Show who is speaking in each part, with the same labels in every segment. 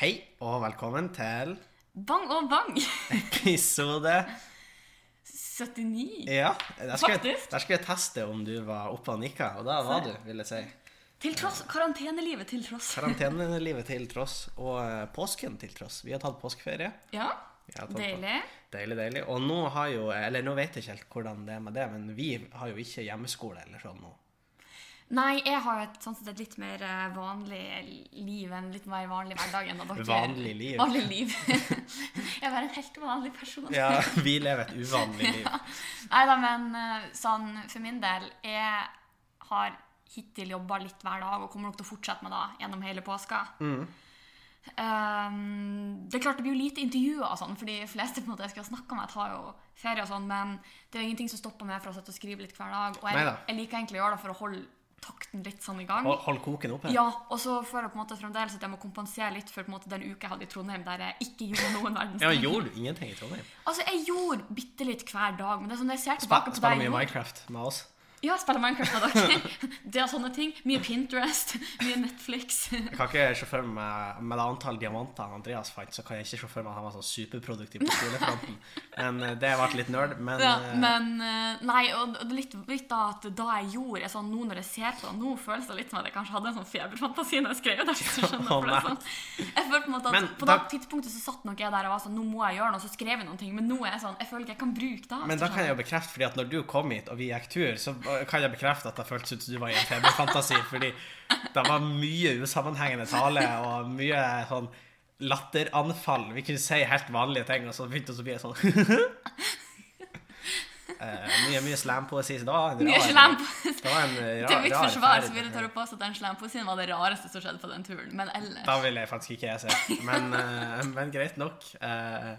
Speaker 1: Hei og velkommen til
Speaker 2: Bang og bang!
Speaker 1: episode
Speaker 2: 79.
Speaker 1: Ja, der skulle, jeg,
Speaker 2: Faktisk.
Speaker 1: der skulle jeg teste om du var oppe og nikka, og da var du, vil jeg si.
Speaker 2: Til tross, Karantenelivet til tross.
Speaker 1: Karantenelivet til tross, og eh, påsken til tross. Vi har tatt påskeferie.
Speaker 2: Ja,
Speaker 1: Vi har tatt på-
Speaker 2: deilig.
Speaker 1: Deilig, deilig. Og nå har jo Eller nå vet jeg ikke helt hvordan det er med det, men vi har jo ikke hjemmeskole eller sånn nå.
Speaker 2: Nei, jeg har et, sånn sett et litt mer eh, vanlig liv, en litt mer vanlig hverdag enn dere.
Speaker 1: Vanlig liv.
Speaker 2: Vanlig liv. jeg er bare en helt vanlig person.
Speaker 1: Ja, vi lever et uvanlig liv.
Speaker 2: Nei da, men eh, sånn for min del, jeg har hittil jobba litt hver dag og kommer nok til å fortsette med det gjennom hele påska.
Speaker 1: Mm.
Speaker 2: Um, det er klart det blir jo lite intervjuer og sånn, for de fleste på en måte jeg skal snakke med, tar jo ferie og sånn, men det er jo ingenting som stopper meg fra å sitte og skrive litt hver dag. Og jeg,
Speaker 1: Neida.
Speaker 2: jeg liker egentlig å gjøre det for å holde takten litt sånn i gang.
Speaker 1: Hold, hold koken oppe.
Speaker 2: Ja, og så føler jeg på en måte fremdeles at jeg må kompensere litt for på en måte den uka jeg hadde i Trondheim der jeg ikke gjorde noen verdens
Speaker 1: Ja,
Speaker 2: ting.
Speaker 1: men Gjorde du ingenting i Trondheim?
Speaker 2: Altså, jeg gjorde bitte litt hver dag, men det er sånn når jeg ser tilbake på
Speaker 1: Spiller
Speaker 2: deg
Speaker 1: mye
Speaker 2: nå
Speaker 1: Minecraft med oss.
Speaker 2: Ja, spiller Minecraft med dere. det er sånne ting. Mye Pinterest, mye Netflix.
Speaker 1: Jeg kan ikke se for meg Med det antall diamanter Andreas fant, så kan jeg ikke se for meg at han var sånn superproduktiv på skolefronten. Men eh, det ble litt nerd. Men,
Speaker 2: Ja,
Speaker 1: eh,
Speaker 2: men eh, Nei, og det er litt, litt da at da jeg gjorde jeg sånn, Nå når jeg ser på det, nå føles det litt som at jeg kanskje hadde en sånn feberfantasi når jeg skrev det. hvis du skjønner,
Speaker 1: Å,
Speaker 2: for det er sånn. Jeg følte på en måte at
Speaker 1: Men
Speaker 2: på
Speaker 1: da-
Speaker 2: det tidspunktet så satt nok jeg der og var sånn Nå må jeg gjøre noe, så skrev jeg noen ting. Men nå er jeg sånn Jeg føler ikke jeg kan bruke det.
Speaker 1: men da kan jeg jo bekrefte, fordi at når du kom hit og vi gikk tur, så eh, kan jeg bekrefte at det føltes ut som du var i en feberfantasi, fordi det var mye usammenhengende tale og mye sånn latteranfall. Vi kunne si helt vanlige ting, og så begynte vi å bli sånn Eh, Mye, mye slampoesi. så det var en
Speaker 2: Mye
Speaker 1: rar-
Speaker 2: slampoesi.
Speaker 1: Det var en eh, rar,
Speaker 2: Til mitt
Speaker 1: rar
Speaker 2: forsvar
Speaker 1: ferd.
Speaker 2: så vil jeg tørre på at den slamposien var det rareste som skjedde på den turen. Men ellers
Speaker 1: Da ville jeg faktisk ikke jeg se. Men, eh, men greit nok. Eh,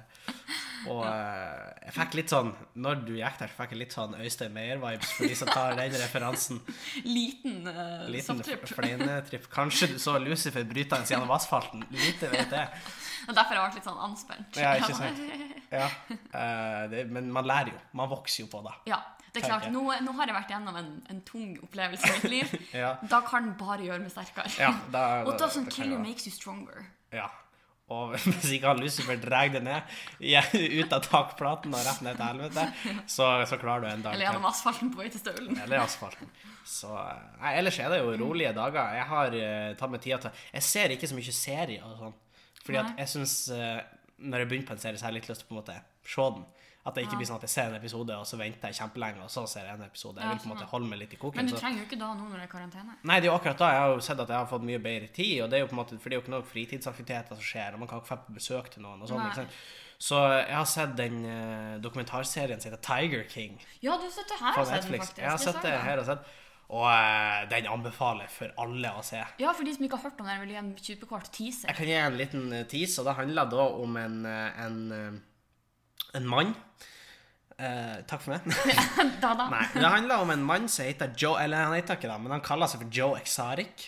Speaker 1: og eh, jeg fikk litt sånn Når du gikk der, så fikk jeg litt sånn Øystein Meyer-vibes for de som tar den referansen.
Speaker 2: Liten, uh,
Speaker 1: Liten
Speaker 2: sopptripp.
Speaker 1: fleinetripp. Kanskje du så Lucifer bryte hans gjennom asfalten. Lite vet jeg.
Speaker 2: Og Derfor har jeg vært litt sånn anspent.
Speaker 1: Ja, ikke sant? Ja. Eh, det, men man lærer jo. Man vokser jo på det.
Speaker 2: Ja, det er klart,
Speaker 1: Tenker jeg.
Speaker 2: nå, nå har jeg vært gjennom en, en tung opplevelse i mitt liv.
Speaker 1: Ja.
Speaker 2: Da kan den bare gjøre meg sterkere.
Speaker 1: Ja, da-
Speaker 2: Og
Speaker 1: da-
Speaker 2: doesn't
Speaker 1: det kan
Speaker 2: kill you
Speaker 1: jeg-
Speaker 2: makes you stronger.
Speaker 1: Ja. Og hvis ikke han Lucifer drar det ned ja, ut av takplaten og rett ned til helvete, så, så klarer du en dag
Speaker 2: Eller gjennom asfalten på vei til støvelen.
Speaker 1: Eller asfalten. Så, eh, nei, ellers er det jo rolige dager. Jeg har eh, tatt meg tida til Jeg ser ikke så mye serier og sånn. Fordi at
Speaker 2: Nei.
Speaker 1: jeg syns Når jeg begynner på en serie, så har jeg litt lyst til å på en måte se den. At det ikke blir sånn at jeg ser en episode, og så venter jeg kjempelenge, og så ser jeg en episode. Jeg
Speaker 2: Ja,
Speaker 1: vil på en måte
Speaker 2: skjønner.
Speaker 1: holde meg litt i koken.
Speaker 2: Men du
Speaker 1: så-
Speaker 2: trenger jo ikke da nå når det er karantene.
Speaker 1: Nei, det er jo akkurat da. Jeg har jo sett at jeg har fått mye bedre tid, og det er jo på en måte, for det er jo ikke noen fritidsaktiviteter som skjer, og man kan ikke dra på besøk til noen og sånn.
Speaker 2: Nei.
Speaker 1: ikke sant? Så jeg har sett den eh, dokumentarserien som heter Tiger King
Speaker 2: Ja, du sitter her
Speaker 1: på
Speaker 2: og ser den,
Speaker 1: Netflix.
Speaker 2: faktisk.
Speaker 1: Jeg har
Speaker 2: Jeg
Speaker 1: sett
Speaker 2: så
Speaker 1: det
Speaker 2: den.
Speaker 1: her og sett. Og eh, den anbefaler jeg for alle å se.
Speaker 2: Ja, for de som ikke har hørt om den, vil jeg gi en kjempekort teaser.
Speaker 1: Jeg kan gi en liten eh, tease, og det handler da om en, eh, en, eh, en mann. Eh, takk for meg.
Speaker 2: da, da.
Speaker 1: Nei, det handler om en mann som heter Joe Eller han heter ikke det, men han kaller seg for Joe Exotic.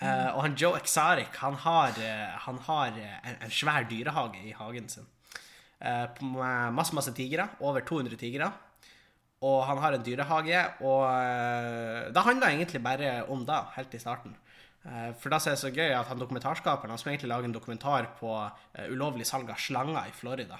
Speaker 1: Eh, og han Joe Exotic han har, eh, han har eh, en, en svær dyrehage i hagen sin. Eh, på- med masse, masse tigre. Over 200 tigre. Og han har en dyrehage, og eh, det handler egentlig bare om det, helt i starten. Eh, For da som er så gøy at han dokumentarskaperen han skulle egentlig lage en dokumentar på eh, ulovlig salg av slanger i Florida.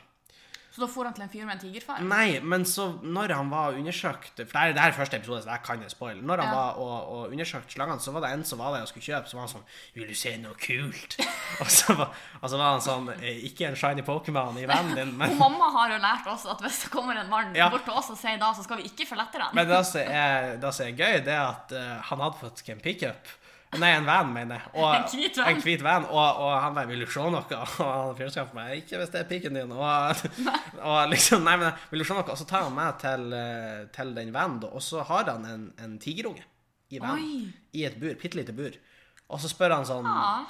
Speaker 2: Så da får han til en fyr med en tigerfar.
Speaker 1: Nei, men så når han var undersøkt For det er, det her er første episode, så det her kan jeg spoil. Når han
Speaker 2: Ja.
Speaker 1: var og, og undersøkte slangene, så var det en som var der og skulle kjøpe, så var han sånn 'Vil du se noe kult?' og, så var, og så var han sånn «Eh, 'Ikke en shiny Pokémon i vennen din', men
Speaker 2: Og mamma har jo lært oss at hvis det kommer en mann
Speaker 1: Ja.
Speaker 2: bort til oss og sier da, så skal vi ikke følge etter den.
Speaker 1: Men det som er, det som er gøy, det er at eh, han hadde faktisk en pickup. Nei, en van, mener jeg. Og,
Speaker 2: En hvit van.
Speaker 1: En hvit van og, og han bare 'Vil du se noe?' Og han fyren sa på meg 'Ikke hvis det er pikken din'. Og, og liksom Nei, men 'Vil du se noe?' Og så tar han meg til, eh, til den vanen, da, og så har han en, en tigerunge i vanen.
Speaker 2: Oi.
Speaker 1: I et bur. Bitte lite bur. Og så spør han sånn
Speaker 2: Ja.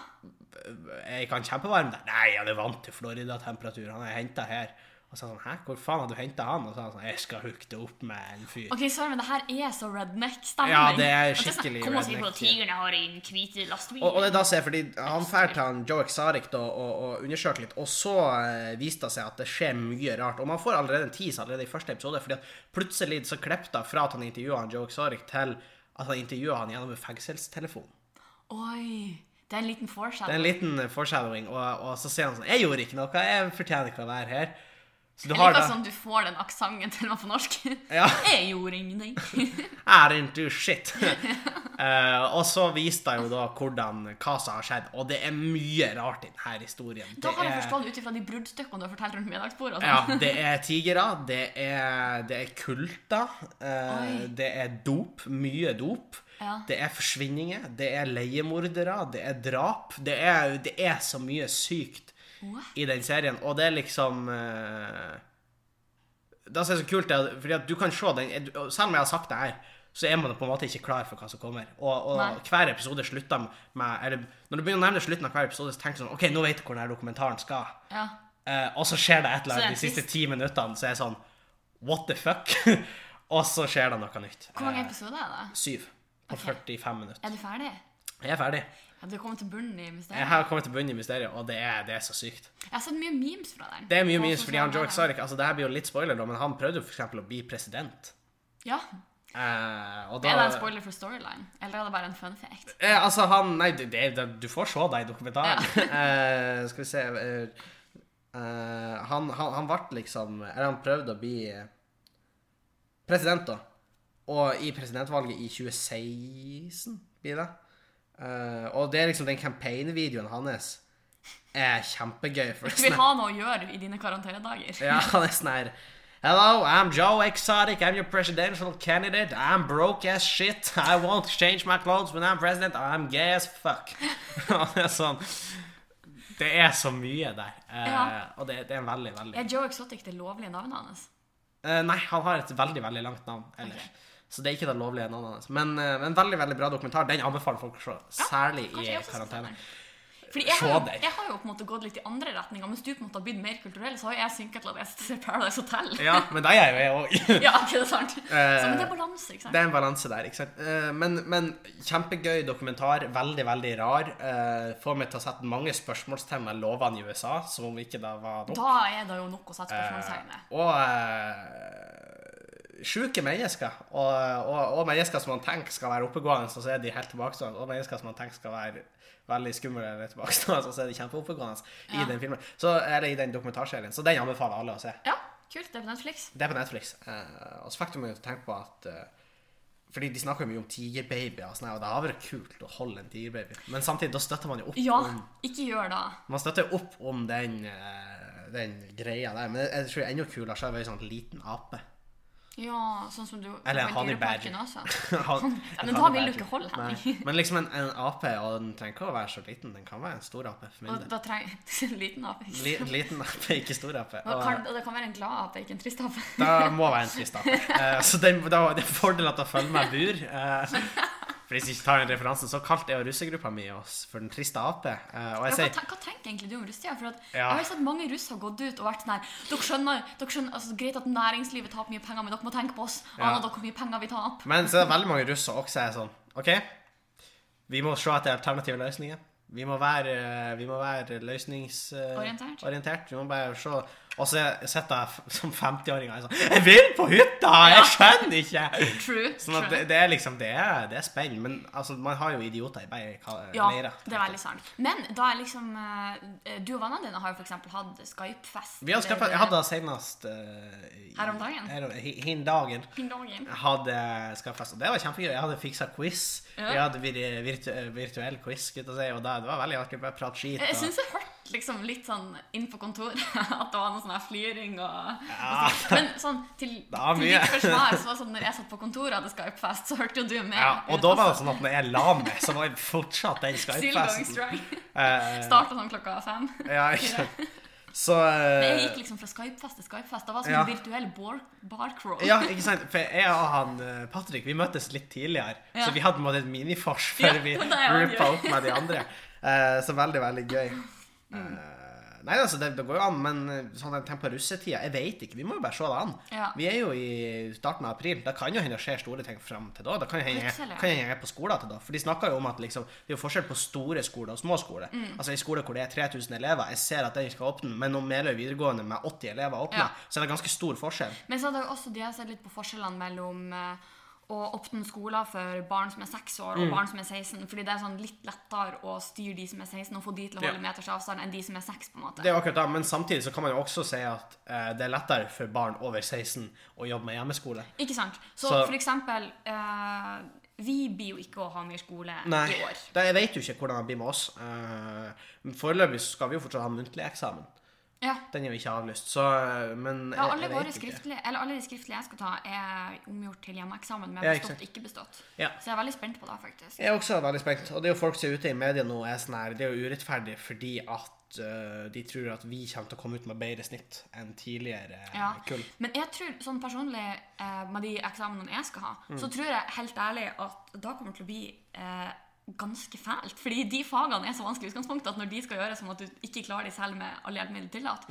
Speaker 1: er ikke han kjempevarm der? Nei, han er vant til Florida-temperatur. Han er henta her. Og så er han sånn, hæ, hvor faen har du henta han? Og så er han sånn, jeg skal hooke det opp med en fyr.
Speaker 2: Ok, sorry, men det her er så redneck-stemning.
Speaker 1: Ja, det er
Speaker 2: At sånn,
Speaker 1: skikkelig
Speaker 2: Kom og si på
Speaker 1: redneck-stil.
Speaker 2: tigerne har en hvite lastebil.
Speaker 1: Og, og det er da ser jeg, fordi han drar til han Joe Exaric da, og, og undersøker litt, og så eh, viste det seg at det skjer mye rart. Og man får allerede en tease allerede i første episode, fordi at plutselig så klippet det fra at han intervjuet han Joe Exaric til at han intervjuet han gjennom en fengselstelefon.
Speaker 2: Oi, Det er en liten foreshadow.
Speaker 1: Det er en liten eh, foreshadowing, og, og så sier han sånn 'Jeg gjorde ikke noe. Jeg fortjener ikke å være her.' Så du
Speaker 2: Jeg
Speaker 1: har
Speaker 2: liker
Speaker 1: da
Speaker 2: sånn du får den aksenten til meg på norsk.
Speaker 1: Ja.
Speaker 2: Jeg gjorde ingenting.
Speaker 1: I didn't do shit. Eh, og så viste jeg jo da hvordan, hva som har skjedd, og det er mye rart i denne historien.
Speaker 2: Da har jeg
Speaker 1: er-
Speaker 2: forstått det ut ifra de bruddstykkene du har fortalt rundt middagsbordet. og sånn.
Speaker 1: Ja, det er tigere, det er, det er kulter, eh,
Speaker 2: Oi.
Speaker 1: det er dop, mye dop.
Speaker 2: Ja.
Speaker 1: Det er forsvinninger, det er leiemordere, det er drap. Det er, det er så mye sykt
Speaker 2: What?
Speaker 1: i den serien, og det er liksom eh, Det som er så kult, er at- fordi at du kan se den og Selv om jeg har sagt det her, så er man på en måte ikke klar for hva som kommer. Og,
Speaker 2: Nei.
Speaker 1: og hver episode slutter med eller, Når du begynner å nærme deg slutten av hver episode, så tenker du sånn OK, nå vet du hvor denne dokumentaren skal.
Speaker 2: Ja.
Speaker 1: Eh, og så skjer det et eller
Speaker 2: Så det er
Speaker 1: annet de siste
Speaker 2: trist.
Speaker 1: ti minuttene, så er jeg sånn What the fuck? og så skjer det noe nytt.
Speaker 2: Hvor mange
Speaker 1: Eh,
Speaker 2: episoder er det?
Speaker 1: Syv på
Speaker 2: Ok.
Speaker 1: 45 minutter.
Speaker 2: Er du ferdig?
Speaker 1: Jeg er ferdig.
Speaker 2: Ja, du har kommet til bunnen i
Speaker 1: Jeg
Speaker 2: mysteriet.
Speaker 1: har kommet til bunnen i mysteriet, og det er, det er så sykt.
Speaker 2: Jeg har sett mye memes fra den.
Speaker 1: Det er mye
Speaker 2: På
Speaker 1: minus fordi han
Speaker 2: sosiale
Speaker 1: Joe
Speaker 2: medier.
Speaker 1: Exotic altså, Det her blir jo litt spoiler, da, men han prøvde jo for eksempel å bli president.
Speaker 2: Ja.
Speaker 1: Eh, og da,
Speaker 2: Er det en spoiler for storyline? Eller er det bare en fun fact?
Speaker 1: Eh, altså, han Nei, det, det, det, du får se det i dokumentaren. Eh, skal vi se eh, eh, han, han, han ble liksom Eller han prøvde å bli eh, president, da. Og i presidentvalget i 2016 blir det. Eh, og det er liksom den campaign-videoen hans er kjempegøy. For
Speaker 2: Du vil ha noe å gjøre i dine karantenedager.
Speaker 1: ja, han er sånn her Hello, I'm Joe Exotic. I'm your presidential candidate. I'm broke as shit. I won't change my clothes when I'm president. I'm gay as fuck. Han er sånn Det er så mye der. Eh,
Speaker 2: Ja.
Speaker 1: Og det, det er veldig, veldig
Speaker 2: Er Joe Exotic det lovlige navnet hans?
Speaker 1: Eh, Nei, han har et veldig, veldig langt navn ellers.
Speaker 2: Ok.
Speaker 1: Så det er ikke det lovlige navnet hans. Men, eh, men veldig veldig bra dokumentar. Den anbefaler folk å se. Særlig i
Speaker 2: Kanskje jeg også skal ta
Speaker 1: karantene.
Speaker 2: den. Fordi jeg, har
Speaker 1: Se
Speaker 2: jo,
Speaker 1: deg.
Speaker 2: jeg har jo på en måte gått litt i andre retninger, mens du på en måte har blitt mer kulturell, så har jeg synket til at jeg ser Paradise Hotel.
Speaker 1: Ja, men det er jo jeg òg.
Speaker 2: Ja, ikke det sant? Så, men det er balanse, ikke sant?
Speaker 1: Det er en balanse der, ikke sant. Eh, Men, men kjempegøy dokumentar. Veldig, veldig rar. Eh, Får meg til å sette mange spørsmålstegn ved lovene i USA, som om ikke det var nok. Eh,
Speaker 2: Da er det jo nok å sette spørsmålstegn ved.
Speaker 1: Og eh, sjuke mennesker. Og, og, og mennesker som man tenker skal være oppegående, så er de helt tilbakestående. Og mennesker som man tenker skal være veldig skumle eller tilbakestående, så er de kjempeoppegående
Speaker 2: Ja.
Speaker 1: i den filmen. Så er det i den dokumentarserien. Så den anbefaler alle å se.
Speaker 2: Ja, kult. Det er på Netflix.
Speaker 1: Det er på Netflix. Eh, og så fikk du meg til å tenke på at eh, Fordi de snakker jo mye om tigerbabyer, og, sånn her, og det har vært kult å holde en tigerbaby. Men samtidig, da støtter man jo opp
Speaker 2: Ja,
Speaker 1: om
Speaker 2: ikke gjør det.
Speaker 1: Man støtter opp om den, eh, den greia der. Men jeg tror det er enda kulere å være en sånn liten ape.
Speaker 2: Ja, sånn som du
Speaker 1: Eller
Speaker 2: på
Speaker 1: honey
Speaker 2: Dyreparken
Speaker 1: badger.
Speaker 2: også.
Speaker 1: Han-
Speaker 2: Ja,
Speaker 1: en
Speaker 2: men da vil du
Speaker 1: badger.
Speaker 2: ikke holde
Speaker 1: Nei.
Speaker 2: Henning.
Speaker 1: Men liksom en, en ape, og den trenger ikke å være så liten. Den kan være en stor ape. For min
Speaker 2: Og
Speaker 1: del.
Speaker 2: da trenger en liten ape. ikke sant?
Speaker 1: Li- Liten ape, ikke stor ape.
Speaker 2: Og,
Speaker 1: Og,
Speaker 2: kan, og det kan være en glad ape, ikke en trist ape.
Speaker 1: Da må være en trist ape. Eh, Så den, da, det er en fordel at jeg følger meg i bur. eh, For hvis jeg ikke tar den referansen, så kalte jeg jo russegruppa mi oss for den triste ape. eh, Og
Speaker 2: Ja,
Speaker 1: jeg
Speaker 2: hva,
Speaker 1: sier
Speaker 2: ten- hva tenker egentlig du om russetida? For at
Speaker 1: Ja.
Speaker 2: Jeg har jo sett mange russ har gått ut og vært sånn her Dere skjønner, dere skjønner altså, Greit at næringslivet taper mye penger, men dere må tenke på oss.
Speaker 1: Ja.
Speaker 2: Aner dere hvor mye penger vi taper?
Speaker 1: Men så er det veldig mange russere også er sånn OK, vi må se etter alternative løsninger. Vi må være, eh, vi må være
Speaker 2: Orientert.
Speaker 1: løsningsorientert. Vi må bare se Og så sitter jeg f- som 50-åring og er sånn Jeg vil på hytta! Jeg skjønner ikke!
Speaker 2: True.
Speaker 1: Sånn at det, det er liksom Det er, det er spenn. Men altså, man har jo idioter i begge ka-
Speaker 2: ja,
Speaker 1: leirer.
Speaker 2: det er veldig sant. Men da er liksom eh, Du og vennene dine har jo f.eks. hatt Skype-fest.
Speaker 1: Vi har skaffet, jeg hadde det senest uh,
Speaker 2: Her om dagen?
Speaker 1: Her, hi- hin dagen. Jeg
Speaker 2: Pingdongen.
Speaker 1: hadde skaffet, og det var kjempegøy. Jeg hadde fiksa quiz.
Speaker 2: Ja.
Speaker 1: Vi hadde vir- virtu, eh, virtuell quiz, skulle jeg til å si, og det, det var veldig artig. Bare prate skit.
Speaker 2: Jeg
Speaker 1: og-
Speaker 2: syns jeg hørte liksom litt sånn inn på kontoret at det var noe sånn her flyring og,
Speaker 1: Ja.
Speaker 2: og sånn. Men sånn til,
Speaker 1: var
Speaker 2: til
Speaker 1: mye.
Speaker 2: ditt forsvar, så var det sånn når jeg satt på kontoret og hadde Skype-fest, så hørte jo du med.
Speaker 1: ja, og da
Speaker 2: Altså.
Speaker 1: var det sånn at når jeg la meg, så var jeg fortsatt den
Speaker 2: Still going
Speaker 1: Skype-festen.
Speaker 2: strong.
Speaker 1: Eh,
Speaker 2: Starta sånn klokka fem.
Speaker 1: ja, ikke sant. Så eh,
Speaker 2: Jeg gikk liksom fra Skype-fest til Skype-fest. Det var sånn
Speaker 1: Ja.
Speaker 2: en virtuell bar, barcrawl.
Speaker 1: Ja, ikke sant? For jeg og han eh, Patrick vi møttes litt tidligere,
Speaker 2: Ja.
Speaker 1: så vi hadde på en måte et minifors
Speaker 2: Ja,
Speaker 1: før vi
Speaker 2: det er jo
Speaker 1: groupa
Speaker 2: gøy.
Speaker 1: opp med de andre. Eh, så veldig, veldig gøy.
Speaker 2: Mm.
Speaker 1: Eh, nei, altså, det, det går jo an, men eh, sånn en tempo russetida Jeg vet ikke, vi må jo bare se det an.
Speaker 2: Ja.
Speaker 1: Vi er jo i starten av april. Det kan jo hende det skjer store ting fram til da. Det kan jo hende
Speaker 2: Plutselig.
Speaker 1: kan jo hende jeg er på skolen til da. For de snakker jo om at liksom, det er jo forskjell på store skoler og små skoler.
Speaker 2: Mm.
Speaker 1: Altså en skole hvor det er 3000 elever, jeg ser at den skal åpne, men om Meløy videregående med 80 elever åpner,
Speaker 2: Ja.
Speaker 1: så er det ganske stor forskjell.
Speaker 2: Men så hadde jeg også de har sett litt på forskjellene mellom eh, og åpne skoler for barn som er 6 år og
Speaker 1: Mm.
Speaker 2: barn som er 16. Fordi det er sånn litt lettere å styre de som er 16 og få de til å
Speaker 1: Ja.
Speaker 2: holde meters avstand enn de som er 6. på en måte.
Speaker 1: Det er jo akkurat det, men samtidig så kan man jo også si at eh, det er lettere for barn over 16 å jobbe med hjemmeskole.
Speaker 2: Ikke sant? Så,
Speaker 1: Så-
Speaker 2: for eksempel eh, Vi blir jo ikke å ha mer skole
Speaker 1: Nei,
Speaker 2: i år.
Speaker 1: da, jeg vet jo ikke hvordan det blir med oss. Eh, men foreløpig så skal vi jo fortsatt ha muntlig eksamen.
Speaker 2: Ja.
Speaker 1: Den er jo ikke avlyst, så eh, Men
Speaker 2: Ja, alle,
Speaker 1: jeg
Speaker 2: våre
Speaker 1: vet ikke.
Speaker 2: skriftlige, eller alle de skriftlige jeg skal ta, er omgjort til hjemmeeksamen med
Speaker 1: Ja, ikke
Speaker 2: bestått, ikke bestått.
Speaker 1: Ja.
Speaker 2: Så jeg er veldig spent på det, faktisk.
Speaker 1: Jeg er også veldig spent. Og det er jo folk som er ute i media nå er sånn her, det er jo urettferdig fordi at eh, de tror at vi kommer til å komme ut med bedre snitt enn tidligere eh,
Speaker 2: Ja.
Speaker 1: kull.
Speaker 2: Men jeg tror, sånn personlig, eh, med de eksamenene jeg skal ha,
Speaker 1: Mm.
Speaker 2: så tror jeg helt ærlig at da kommer det til å bli eh, ganske fælt. Fordi de fagene er så vanskelig i utgangspunktet at når de skal gjøres sånn at du ikke klarer de selv med alle hjelpemidler tillatt,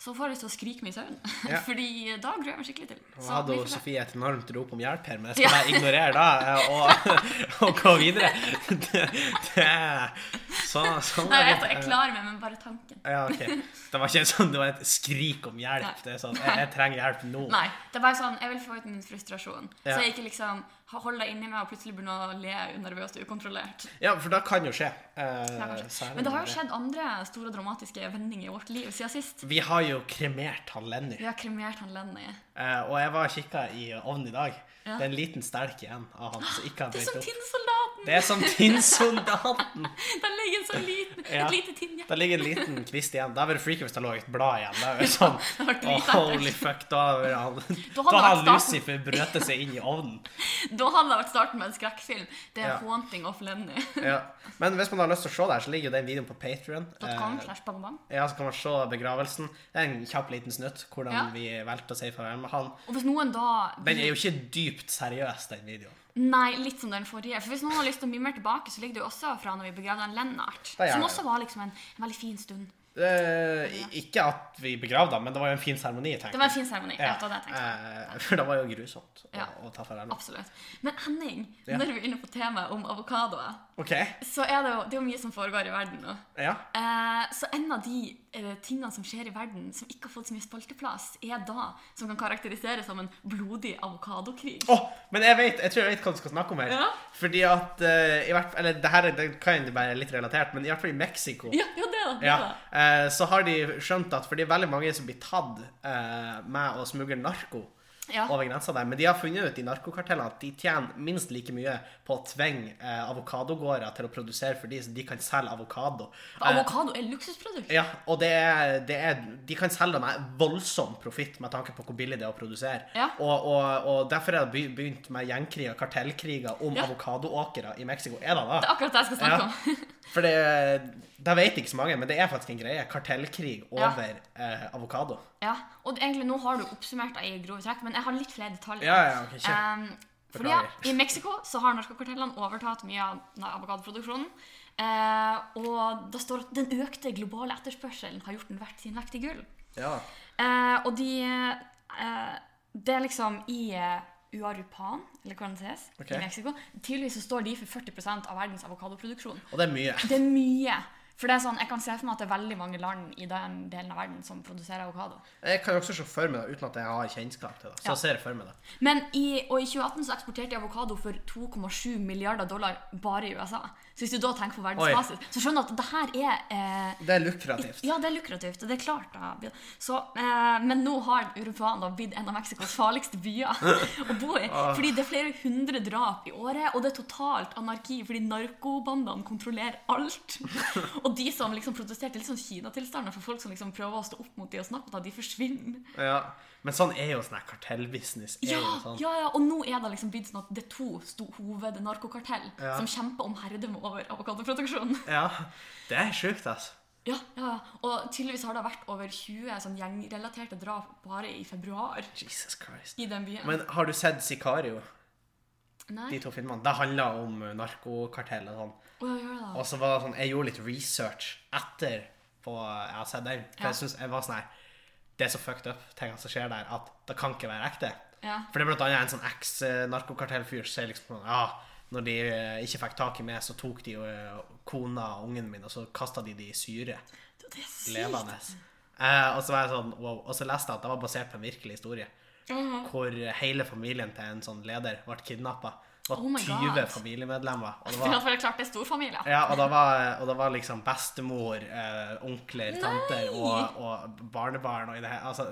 Speaker 2: så får jeg lyst til å skrike meg i søvn.
Speaker 1: Mm. Ja.
Speaker 2: Fordi da gruer jeg meg skikkelig til.
Speaker 1: Nå
Speaker 2: Så
Speaker 1: hadde
Speaker 2: vi
Speaker 1: jo
Speaker 2: får se.
Speaker 1: Sofie et enormt rop om hjelp her, men jeg
Speaker 2: Ja.
Speaker 1: skal bare ignorere det eh, og, og gå videre. Det, det, er- sånn, sånn
Speaker 2: Nei,
Speaker 1: er
Speaker 2: jeg,
Speaker 1: det.
Speaker 2: vet, jeg klarer meg, men bare tanken.
Speaker 1: Ja, ok. Det var ikke sånn, det var et skrik om
Speaker 2: Nei.
Speaker 1: hjelp. Det er sånn, jeg, jeg trenger hjelp nå.
Speaker 2: Nei, det er bare sånn, jeg vil få ut min frustrasjon.
Speaker 1: Ja.
Speaker 2: Så jeg ikke liksom holder det inni meg og plutselig begynner å le nervøst og ukontrollert.
Speaker 1: Ja, for det kan jo skje. eh,
Speaker 2: Ja, kanskje.
Speaker 1: særlig
Speaker 2: Men det har jo
Speaker 1: når
Speaker 2: skjedd andre store dramatiske vendinger i vårt liv siden sist.
Speaker 1: Vi har jo kremert han Lenny,
Speaker 2: Vi har kremert han Lenny.
Speaker 1: eh, og jeg var og kikka i ovnen i dag.
Speaker 2: Ja.
Speaker 1: Det er en liten stelk igjen av han som ikke har
Speaker 2: Det er
Speaker 1: blitt
Speaker 2: som
Speaker 1: opp.
Speaker 2: tinnsoldaten!
Speaker 1: Det er som tinnsoldaten!
Speaker 2: Den ligger så liten.
Speaker 1: Ja.
Speaker 2: Et lite tinn, ja.
Speaker 1: Det ligger en liten kvist igjen. Da ville freaky hvis det lå et blad igjen. Da er det sånn,
Speaker 2: det
Speaker 1: «Å,
Speaker 2: var dritekkelt.
Speaker 1: holy fuck, da hadde han,
Speaker 2: Da
Speaker 1: da
Speaker 2: hadde han
Speaker 1: hadde
Speaker 2: starten.
Speaker 1: Lucifer brøtet seg inn i ovnen.
Speaker 2: Da hadde det vært starten med en skrekkfilm. Det er
Speaker 1: Ja.
Speaker 2: 'Haunting of Lenny'.
Speaker 1: Ja. Men hvis man har lyst til å se det her, så ligger jo den videoen på Patrion. Eh,
Speaker 2: .com slash bang bang.
Speaker 1: Ja, så kan man se begravelsen. Det er en kjapp liten snutt hvordan
Speaker 2: Ja.
Speaker 1: vi valgte å si farvel med han.
Speaker 2: Og hvis noen da
Speaker 1: Den er jo ikke dypt seriøs, den videoen.
Speaker 2: Nei, litt som den forrige. For hvis noen har lyst til å mimre tilbake, så ligger det jo også fra når vi begravde han Lennart.
Speaker 1: er
Speaker 2: Som
Speaker 1: det.
Speaker 2: også var liksom en, en veldig fin stund.
Speaker 1: Eh, i- ikke at vi begravde han, men det var jo en fin seremoni. tenker
Speaker 2: Det var en
Speaker 1: jeg.
Speaker 2: fin seremoni.
Speaker 1: Ja,
Speaker 2: Ja. det var det jeg tenkte.
Speaker 1: eh, for det var jo grusomt å,
Speaker 2: Ja.
Speaker 1: å ta farvel med.
Speaker 2: Absolutt. Men Henning,
Speaker 1: Ja.
Speaker 2: når vi er inne på temaet om avokadoer,
Speaker 1: OK.
Speaker 2: så er det jo, det er jo mye som foregår i verden nå.
Speaker 1: Ja.
Speaker 2: Eh, så en av de eh, tingene som skjer i verden som ikke har fått så mye spalteplass, er da som kan karakteriseres som en blodig avokadokrig.
Speaker 1: Åh, men jeg, vet, jeg tror jeg vet hva du skal snakke om her.
Speaker 2: Ja.
Speaker 1: Fordi at eh, i hvert, Eller det her er- det kan jo være litt relatert, men i hvert fall i Mexico
Speaker 2: Ja, ja, det er det. det
Speaker 1: Ja,
Speaker 2: er det.
Speaker 1: eh, så har de skjønt at fordi veldig mange som blir tatt eh, med å smugle narko
Speaker 2: Ja.
Speaker 1: over grensa der, men de har funnet ut i narkokartellene at de tjener minst like mye på å tvinge eh, avokadogårder til å produsere for de, så de kan selge avokado.
Speaker 2: For avokado er luksusprodukt.
Speaker 1: Ja, og det er, det er, de kan selge det med voldsom profitt med tanke på hvor billig det er å produsere.
Speaker 2: Ja.
Speaker 1: Og, og, og derfor er det be- begynt med gjengkriger og kartellkriger om
Speaker 2: Ja.
Speaker 1: avokadoåkere i Mexico. Er det det?
Speaker 2: Det er akkurat det jeg skal
Speaker 1: Ja.
Speaker 2: snakke om.
Speaker 1: For det, det vet ikke så mange, men det er faktisk en greie. Kartellkrig
Speaker 2: Ja.
Speaker 1: over eh, avokado.
Speaker 2: Ja, og det- egentlig nå har du oppsummert det i grove trekk, men jeg har litt flere detaljer.
Speaker 1: Ja, ja, ok, kjør.
Speaker 2: Ehm, fordi ja,
Speaker 1: Beklager.
Speaker 2: I Mexico så har narkokartellene overtatt mye av na- avokadoproduksjonen. Eh, og det står at den økte globale etterspørselen har gjort den verdt sin vekt i gull.
Speaker 1: Ja.
Speaker 2: Eh, og de eh, Det er liksom i eh, Uarupan, eller hvordan det sies,
Speaker 1: Ok.
Speaker 2: i Mexico. Tidligvis så står de for 40 av verdens avokadoproduksjon.
Speaker 1: Og det er mye.
Speaker 2: Det er mye. For det er sånn, Jeg kan se for meg at det er veldig mange land i den delen av verden som produserer avokado.
Speaker 1: Jeg kan jo også se for meg det uten at jeg har kjennskap til det. Så
Speaker 2: Ja.
Speaker 1: ser jeg for meg det.
Speaker 2: Men i, og i 2018 så eksporterte de avokado for 2,7 milliarder dollar bare i USA. Så hvis du da tenker på verdensbasis, så skjønner du at det her er eh,
Speaker 1: Det er lukrativt.
Speaker 2: Ja, det er lukrativt. Det er klart. da. Så, eh, men nå har Uruguay da blitt en av Mexicos farligste byer å bo i.
Speaker 1: Ah.
Speaker 2: Fordi det er flere hundre drap i året, og det er totalt anarki fordi narkobandene kontrollerer alt. Og de som liksom protesterer til sånn Kina-tilstander for folk som liksom prøver å stå opp mot de og snakke med dem, de forsvinner.
Speaker 1: Ja. Men sånn er jo sånn her kartellbusiness. er
Speaker 2: Ja,
Speaker 1: jo sånn.
Speaker 2: ja, ja, og nå er det liksom blitt sånn at det er to sto- hovednarkokartell
Speaker 1: Ja.
Speaker 2: som kjemper om herredømme over avokadoproduksjonen.
Speaker 1: Ja. Det er sjukt, altså.
Speaker 2: Ja, ja, ja. Og tydeligvis har det vært over 20 sånn gjengrelaterte drap bare i februar
Speaker 1: Jesus Christ.
Speaker 2: i den byen.
Speaker 1: Men har du sett Sicario?
Speaker 2: Nei,
Speaker 1: De to filmene. Det handler om eh, narkokartell og sånn.
Speaker 2: å, ja, gjør det da.
Speaker 1: Og så var det sånn, jeg gjorde litt research etter på, jeg har sett den. For
Speaker 2: Ja.
Speaker 1: jeg synes jeg var sånn her, det er så fucked up, tingene som skjer der, at det kan ikke være ekte.
Speaker 2: Ja.
Speaker 1: For det er blant annet en sånn eks-narkokartellfyr som sier liksom sånn, ja, når de eh, ikke fikk tak i meg, så tok de jo eh, kona og ungen min, og så kastet de de i syre,
Speaker 2: Det er sykt.
Speaker 1: levende. Eh, og så var jeg sånn, wow. Og så leste jeg at det var basert på en virkelig historie.
Speaker 2: Mm.
Speaker 1: hvor hele familien til en sånn leder ble kidnappa. Det var
Speaker 2: Oh my
Speaker 1: 20
Speaker 2: God.
Speaker 1: familiemedlemmer. Og det
Speaker 2: For
Speaker 1: var,
Speaker 2: at det er klart det er storfamilie.
Speaker 1: ja, og det var, og det var liksom bestemor, eh, onkler, tanter og, og barnebarn og i det hele altså,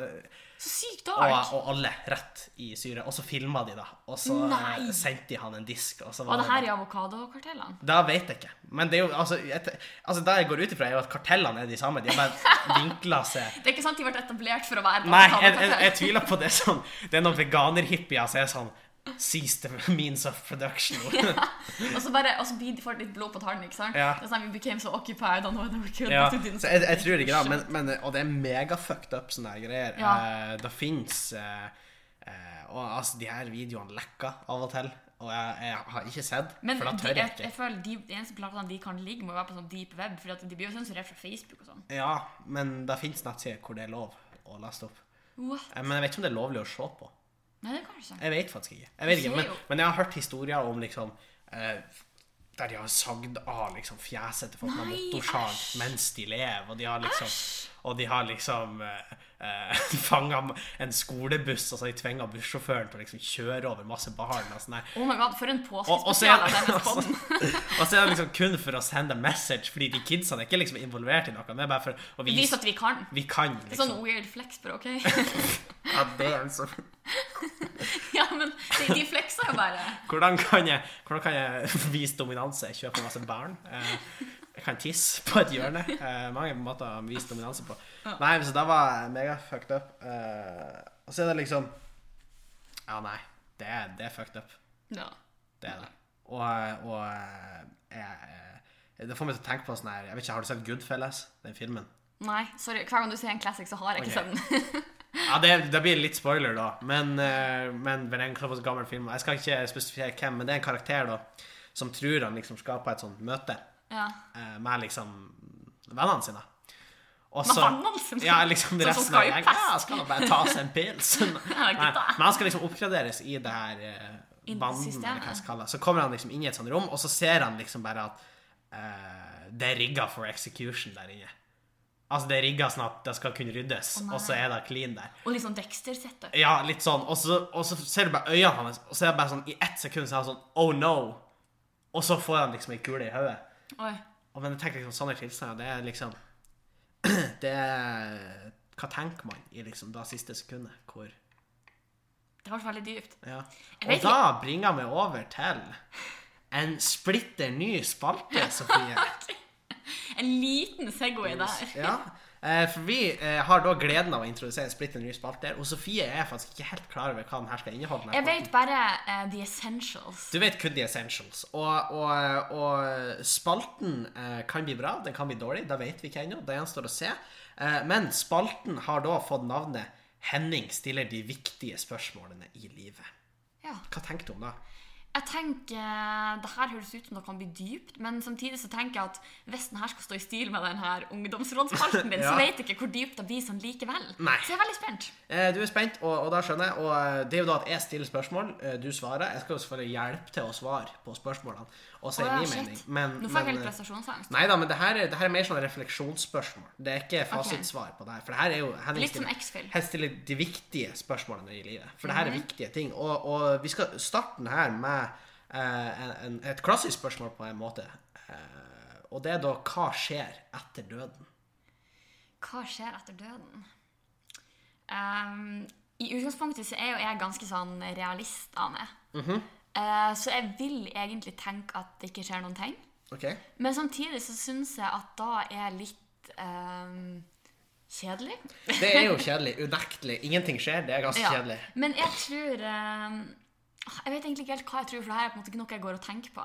Speaker 2: Så sykt
Speaker 1: og,
Speaker 2: dark.
Speaker 1: og alle rett i syre. Og så filma de, da. Og så eh,
Speaker 2: Nei.
Speaker 1: sendte de han en disk. Og så var
Speaker 2: Var det
Speaker 1: det
Speaker 2: her i avokadokartellene?
Speaker 1: da vet jeg ikke. Men det er jo, altså, et, altså det jeg går ut ifra, er jo at kartellene er de samme. De har bare vinkla seg
Speaker 2: Det er ikke sant de ble etablert for å være et
Speaker 1: Nei, jeg, jeg,
Speaker 2: avokadokartell.
Speaker 1: jeg tviler på det. Sånn, det er noen veganerhippier som er sånn Seize the means of production.
Speaker 2: Og så bare, og så blir de får litt blod på tannen, ikke sant?
Speaker 1: Ja.
Speaker 2: Det er sånn, we became so occupied on whether we could.
Speaker 1: Ja,
Speaker 2: but we didn't
Speaker 1: så jeg, jeg tror ikke det, men, men Og det er megafucked up sånne her greier.
Speaker 2: Ja.
Speaker 1: Eh, det fins Og altså, de her videoene lekker av og til, og jeg, jeg har ikke sett,
Speaker 2: Men
Speaker 1: for da
Speaker 2: de,
Speaker 1: tør
Speaker 2: jeg,
Speaker 1: jeg ikke.
Speaker 2: jeg føler de, de eneste plassene de kan ligge, må være på sånn deep web, for de blir jo sensurert fra Facebook og sånn.
Speaker 1: Ja, men det fins nettsider hvor det er lov å laste opp.
Speaker 2: What?
Speaker 1: Eh, Men jeg vet ikke om det er lovlig å se på.
Speaker 2: Nei, det kan jeg ikke.
Speaker 1: Jeg vet faktisk ikke. Jeg vet ikke
Speaker 2: ser
Speaker 1: men,
Speaker 2: jo.
Speaker 1: men jeg har hørt historier om liksom eh, Der de har sagd av liksom fjeset til folk med
Speaker 2: Nei,
Speaker 1: motorsag
Speaker 2: æsj.
Speaker 1: mens de lever, og de har liksom Og de har liksom fanga en skolebuss, og så har de tvinga bussjåføren til å liksom kjøre over masse barn. og sånn der.
Speaker 2: Oh my god, for en
Speaker 1: Og, og, så er,
Speaker 2: påskespesial av denne
Speaker 1: og,
Speaker 2: podden.
Speaker 1: så, og så er det liksom kun for å sende message, fordi de kidsene er ikke liksom involvert i noe. Det er bare for å
Speaker 2: Vis
Speaker 1: vise
Speaker 2: at vi kan.
Speaker 1: vi kan, liksom.
Speaker 2: Sånn weird flex, bare, ok?
Speaker 1: Ja, det er sånn- så-
Speaker 2: ja, men de, de flexer jo bare.
Speaker 1: Hvordan kan jeg, hvordan kan jeg vise dominanse? Kjøpe masse barn? Eh, jeg kan tisse på et hjørne. Eh, mange måter å vise dominanse på. Nei, så da var jeg mega fucked up. Eh, og så er det liksom Ja, nei. Det er, det er fucked up.
Speaker 2: Ja.
Speaker 1: Det er det. Og, og eh, jeg, eh, det får meg til å tenke på sånn her Jeg vet ikke, Har du sett Goodfellas, den filmen?
Speaker 2: Nei, sorry. Hver gang du sier en classic, så har jeg
Speaker 1: Ok.
Speaker 2: ikke sett den.
Speaker 1: Ja, det, det blir litt spoiler, da. Men, eh, men det er en såpass gammel film. Jeg skal ikke spesifisere hvem, men det er en karakter da som tror han liksom skal på et sånt møte.
Speaker 2: Ja.
Speaker 1: eh, med liksom vennene sine. Og
Speaker 2: Med
Speaker 1: så-
Speaker 2: vennene sine?
Speaker 1: Ja, liksom
Speaker 2: Sånn som
Speaker 1: resten av
Speaker 2: Skype?
Speaker 1: gjengen. Ja, skal han bare ta seg en pils.
Speaker 2: Ja, ikke
Speaker 1: Nei,
Speaker 2: da.
Speaker 1: Men han skal liksom oppgraderes i det her eh,
Speaker 2: I
Speaker 1: banden,
Speaker 2: systemet.
Speaker 1: eller hva jeg skal kalle det. Så kommer han liksom inn i et sånt rom, og så ser han liksom bare at eh, det er rigga for execution der inne. Altså, det er rigga sånn at det skal kunne ryddes,
Speaker 2: nei.
Speaker 1: og så er det clean der.
Speaker 2: Og litt sånn Dexter-setup.
Speaker 1: Ja, litt sånn. Og så, og så ser du bare øynene hans, og så er det bare sånn i ett sekund så er han sånn Oh no! Og så får han liksom ei kule i hodet.
Speaker 2: Oi.
Speaker 1: Og men jeg tenker liksom sånne tilstander, det er liksom Det er Hva tenker man i liksom da siste sekundet? Hvor
Speaker 2: Det var veldig dypt.
Speaker 1: Ja.
Speaker 2: Jeg
Speaker 1: Og
Speaker 2: vet
Speaker 1: da bringer vi over til en splitter ny spalte, Sofie.
Speaker 2: En liten Segway der.
Speaker 1: Ja. Eh, For vi eh, har da gleden av å introdusere en splitter ny spalte, og Sofie er faktisk ikke helt klar over hva den her skal inneholde.
Speaker 2: Jeg vet bare eh, the essentials.
Speaker 1: Du vet kun the essentials. Og, og, og spalten eh, kan bli bra, den kan bli dårlig. Det vet vi ikke ennå. Det gjenstår å se. Eh, men spalten har da fått navnet 'Henning stiller de viktige spørsmålene i livet'.
Speaker 2: Ja.
Speaker 1: Hva tenker du om det?
Speaker 2: Jeg tenker, eh, det her høres ut som det kan bli dypt, men samtidig så tenker jeg at hvis den her skal stå i stil med den her ungdomsrådsspalten din,
Speaker 1: Ja.
Speaker 2: så vet jeg ikke hvor dypt det blir sånn likevel.
Speaker 1: Nei.
Speaker 2: Så jeg er veldig spent.
Speaker 1: Eh, du er spent, og, og da skjønner jeg. Og eh, det er jo da at jeg stiller spørsmål, eh, du svarer. Jeg skal jo selvfølgelig hjelpe til å svare på spørsmålene og si
Speaker 2: Å, ja,
Speaker 1: min
Speaker 2: shit.
Speaker 1: mening. Men,
Speaker 2: Nå får jeg
Speaker 1: men,
Speaker 2: helt
Speaker 1: eh,
Speaker 2: prestasjonsangst.
Speaker 1: Nei da, men det her, det her er mer sånn refleksjonsspørsmål. Det er ikke fasitsvar på det her. For det her er jo Henning
Speaker 2: Litt sånn som
Speaker 1: stiller-
Speaker 2: X-Fill.
Speaker 1: Henning stiller de viktige spørsmålene i livet. For det her
Speaker 2: Mhm.
Speaker 1: er viktige ting. Og, og vi skal starte den her med eh, en, en, et klassisk spørsmål på en måte. Eh, og det er da hva skjer etter døden?
Speaker 2: Hva skjer etter døden? Ehm, I utgangspunktet så er jo jeg ganske sånn realist av meg.
Speaker 1: Mhm.
Speaker 2: Eh, så jeg vil egentlig tenke at det ikke skjer noen ting.
Speaker 1: Ok?
Speaker 2: Men samtidig så syns jeg at da er jeg litt ehm, kjedelig.
Speaker 1: Det er jo kjedelig. Unektelig. Ingenting skjer. Det er ganske
Speaker 2: Ja.
Speaker 1: kjedelig.
Speaker 2: Men jeg tror ehm, Jeg vet egentlig ikke helt hva jeg tror, for det her er på en måte ikke noe jeg går og tenker på.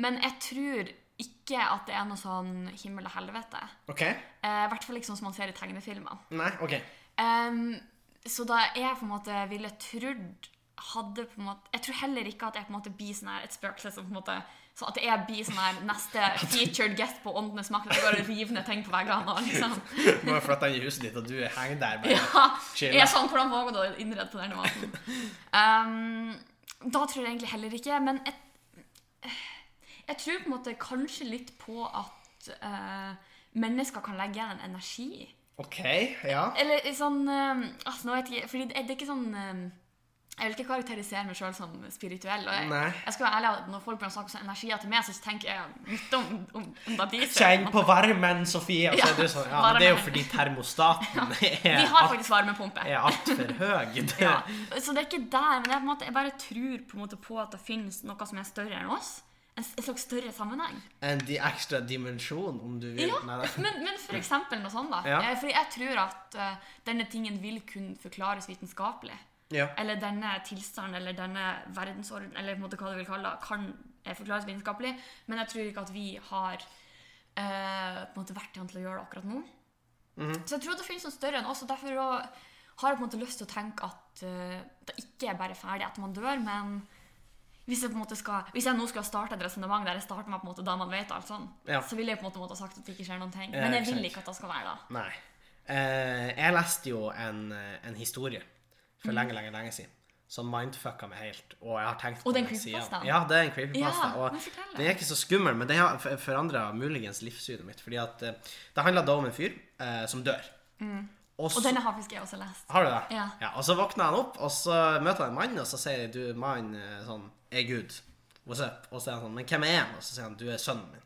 Speaker 2: Men jeg tror ikke at det er noe sånn himmel og helvete.
Speaker 1: Ok?
Speaker 2: Eh, I hvert fall ikke sånn som man ser i tegnefilmer.
Speaker 1: Nei? Ok.
Speaker 2: Ehm, så da jeg på en måte ville trodd hadde på en måte, Jeg tror heller ikke at jeg på en måte blir sånn her et spøkelse som på en måte så At jeg blir sånn her neste featured guest på Åndenes makt. At jeg bare river ned ting på veggene. og liksom.
Speaker 1: Må jo flytte inn i huset ditt, og du henger der. Bare.
Speaker 2: Ja,
Speaker 1: Chill.
Speaker 2: jeg er sånn, Hvordan våger du å innrede på denne måten? Ehm, da tror jeg egentlig heller ikke. Men jeg, jeg tror på en måte kanskje litt på at eh, mennesker kan legge igjen en energi.
Speaker 1: OK, ja.
Speaker 2: Eller i sånn eh, altså, nå vet jeg, ikke, fordi det, det er ikke sånn eh, Jeg vil ikke karakterisere meg sjøl som spirituell. Og jeg,
Speaker 1: Nei.
Speaker 2: jeg skal være ærlig at Når folk begynner å snakke om energier til meg, så tenker jeg mitt om, om, om da de ser-
Speaker 1: Kjenn på varmen, Sofie. Og så er det, sånn, ja, men det er jo
Speaker 2: varmen.
Speaker 1: fordi termostaten
Speaker 2: Vi
Speaker 1: er
Speaker 2: har
Speaker 1: alt-
Speaker 2: faktisk varmepumpe.
Speaker 1: er altfor høy. Det-
Speaker 2: Ja. Så det er ikke der, men jeg, på en måte, jeg bare tror på, en måte på at det finnes noe som er større enn oss. En, s- en slags større sammenheng.
Speaker 1: En di- ekstra dimensjon, om du vil.
Speaker 2: Ja,
Speaker 1: Nei, nei.
Speaker 2: men, men for eksempel noe sånt, da.
Speaker 1: Ja.
Speaker 2: Eh, Fordi jeg tror at eh, denne tingen vil kunne forklares vitenskapelig.
Speaker 1: Ja.
Speaker 2: Eller denne tilstanden, eller denne verdensorden, eller på en måte hva du vil kalle det, kan eh, forklares vitenskapelig. Men jeg tror ikke at vi har eh, på en måte verktøyene til å gjøre det akkurat nå.
Speaker 1: Mhm.
Speaker 2: Så jeg tror det finnes noe større enn oss, og derfor å- har jeg på en måte lyst til å tenke at eh, det ikke er bare ferdig etter man dør, men hvis jeg, på en måte skal, hvis jeg nå skulle ha startet et resonnement der jeg starter med på en måte da man vet alt sånn,
Speaker 1: Ja.
Speaker 2: så ville jeg på en måte måtte ha sagt at det ikke skjer noen ting.
Speaker 1: Ja,
Speaker 2: Men jeg
Speaker 1: ikke
Speaker 2: vil
Speaker 1: sant.
Speaker 2: ikke at det skal være da.
Speaker 1: Nei. Eh, jeg leste jo en, eh, en historie for lenge, lenge, lenge siden. Som mindfucka meg helt. Og jeg har tenkt på
Speaker 2: Og det er en
Speaker 1: den siden.
Speaker 2: creepypasta.
Speaker 1: Ja, det er en creepypasta.
Speaker 2: Ja, men fortell
Speaker 1: og
Speaker 2: det.
Speaker 1: den er ikke så skummel, men den har forandra muligens livssynet mitt. Fordi at eh, det handla da om en fyr eh, som dør. Og
Speaker 2: Mm. Og
Speaker 1: så
Speaker 2: denne har faktisk jeg også lest.
Speaker 1: Har du det?
Speaker 2: Ja.
Speaker 1: Og så våkner han opp, og så møter han en mann, og så sier du, mann, eh, sånn, er Gud. What's up? Og så er han sånn, men hvem er han? Og så sier han, du er sønnen min.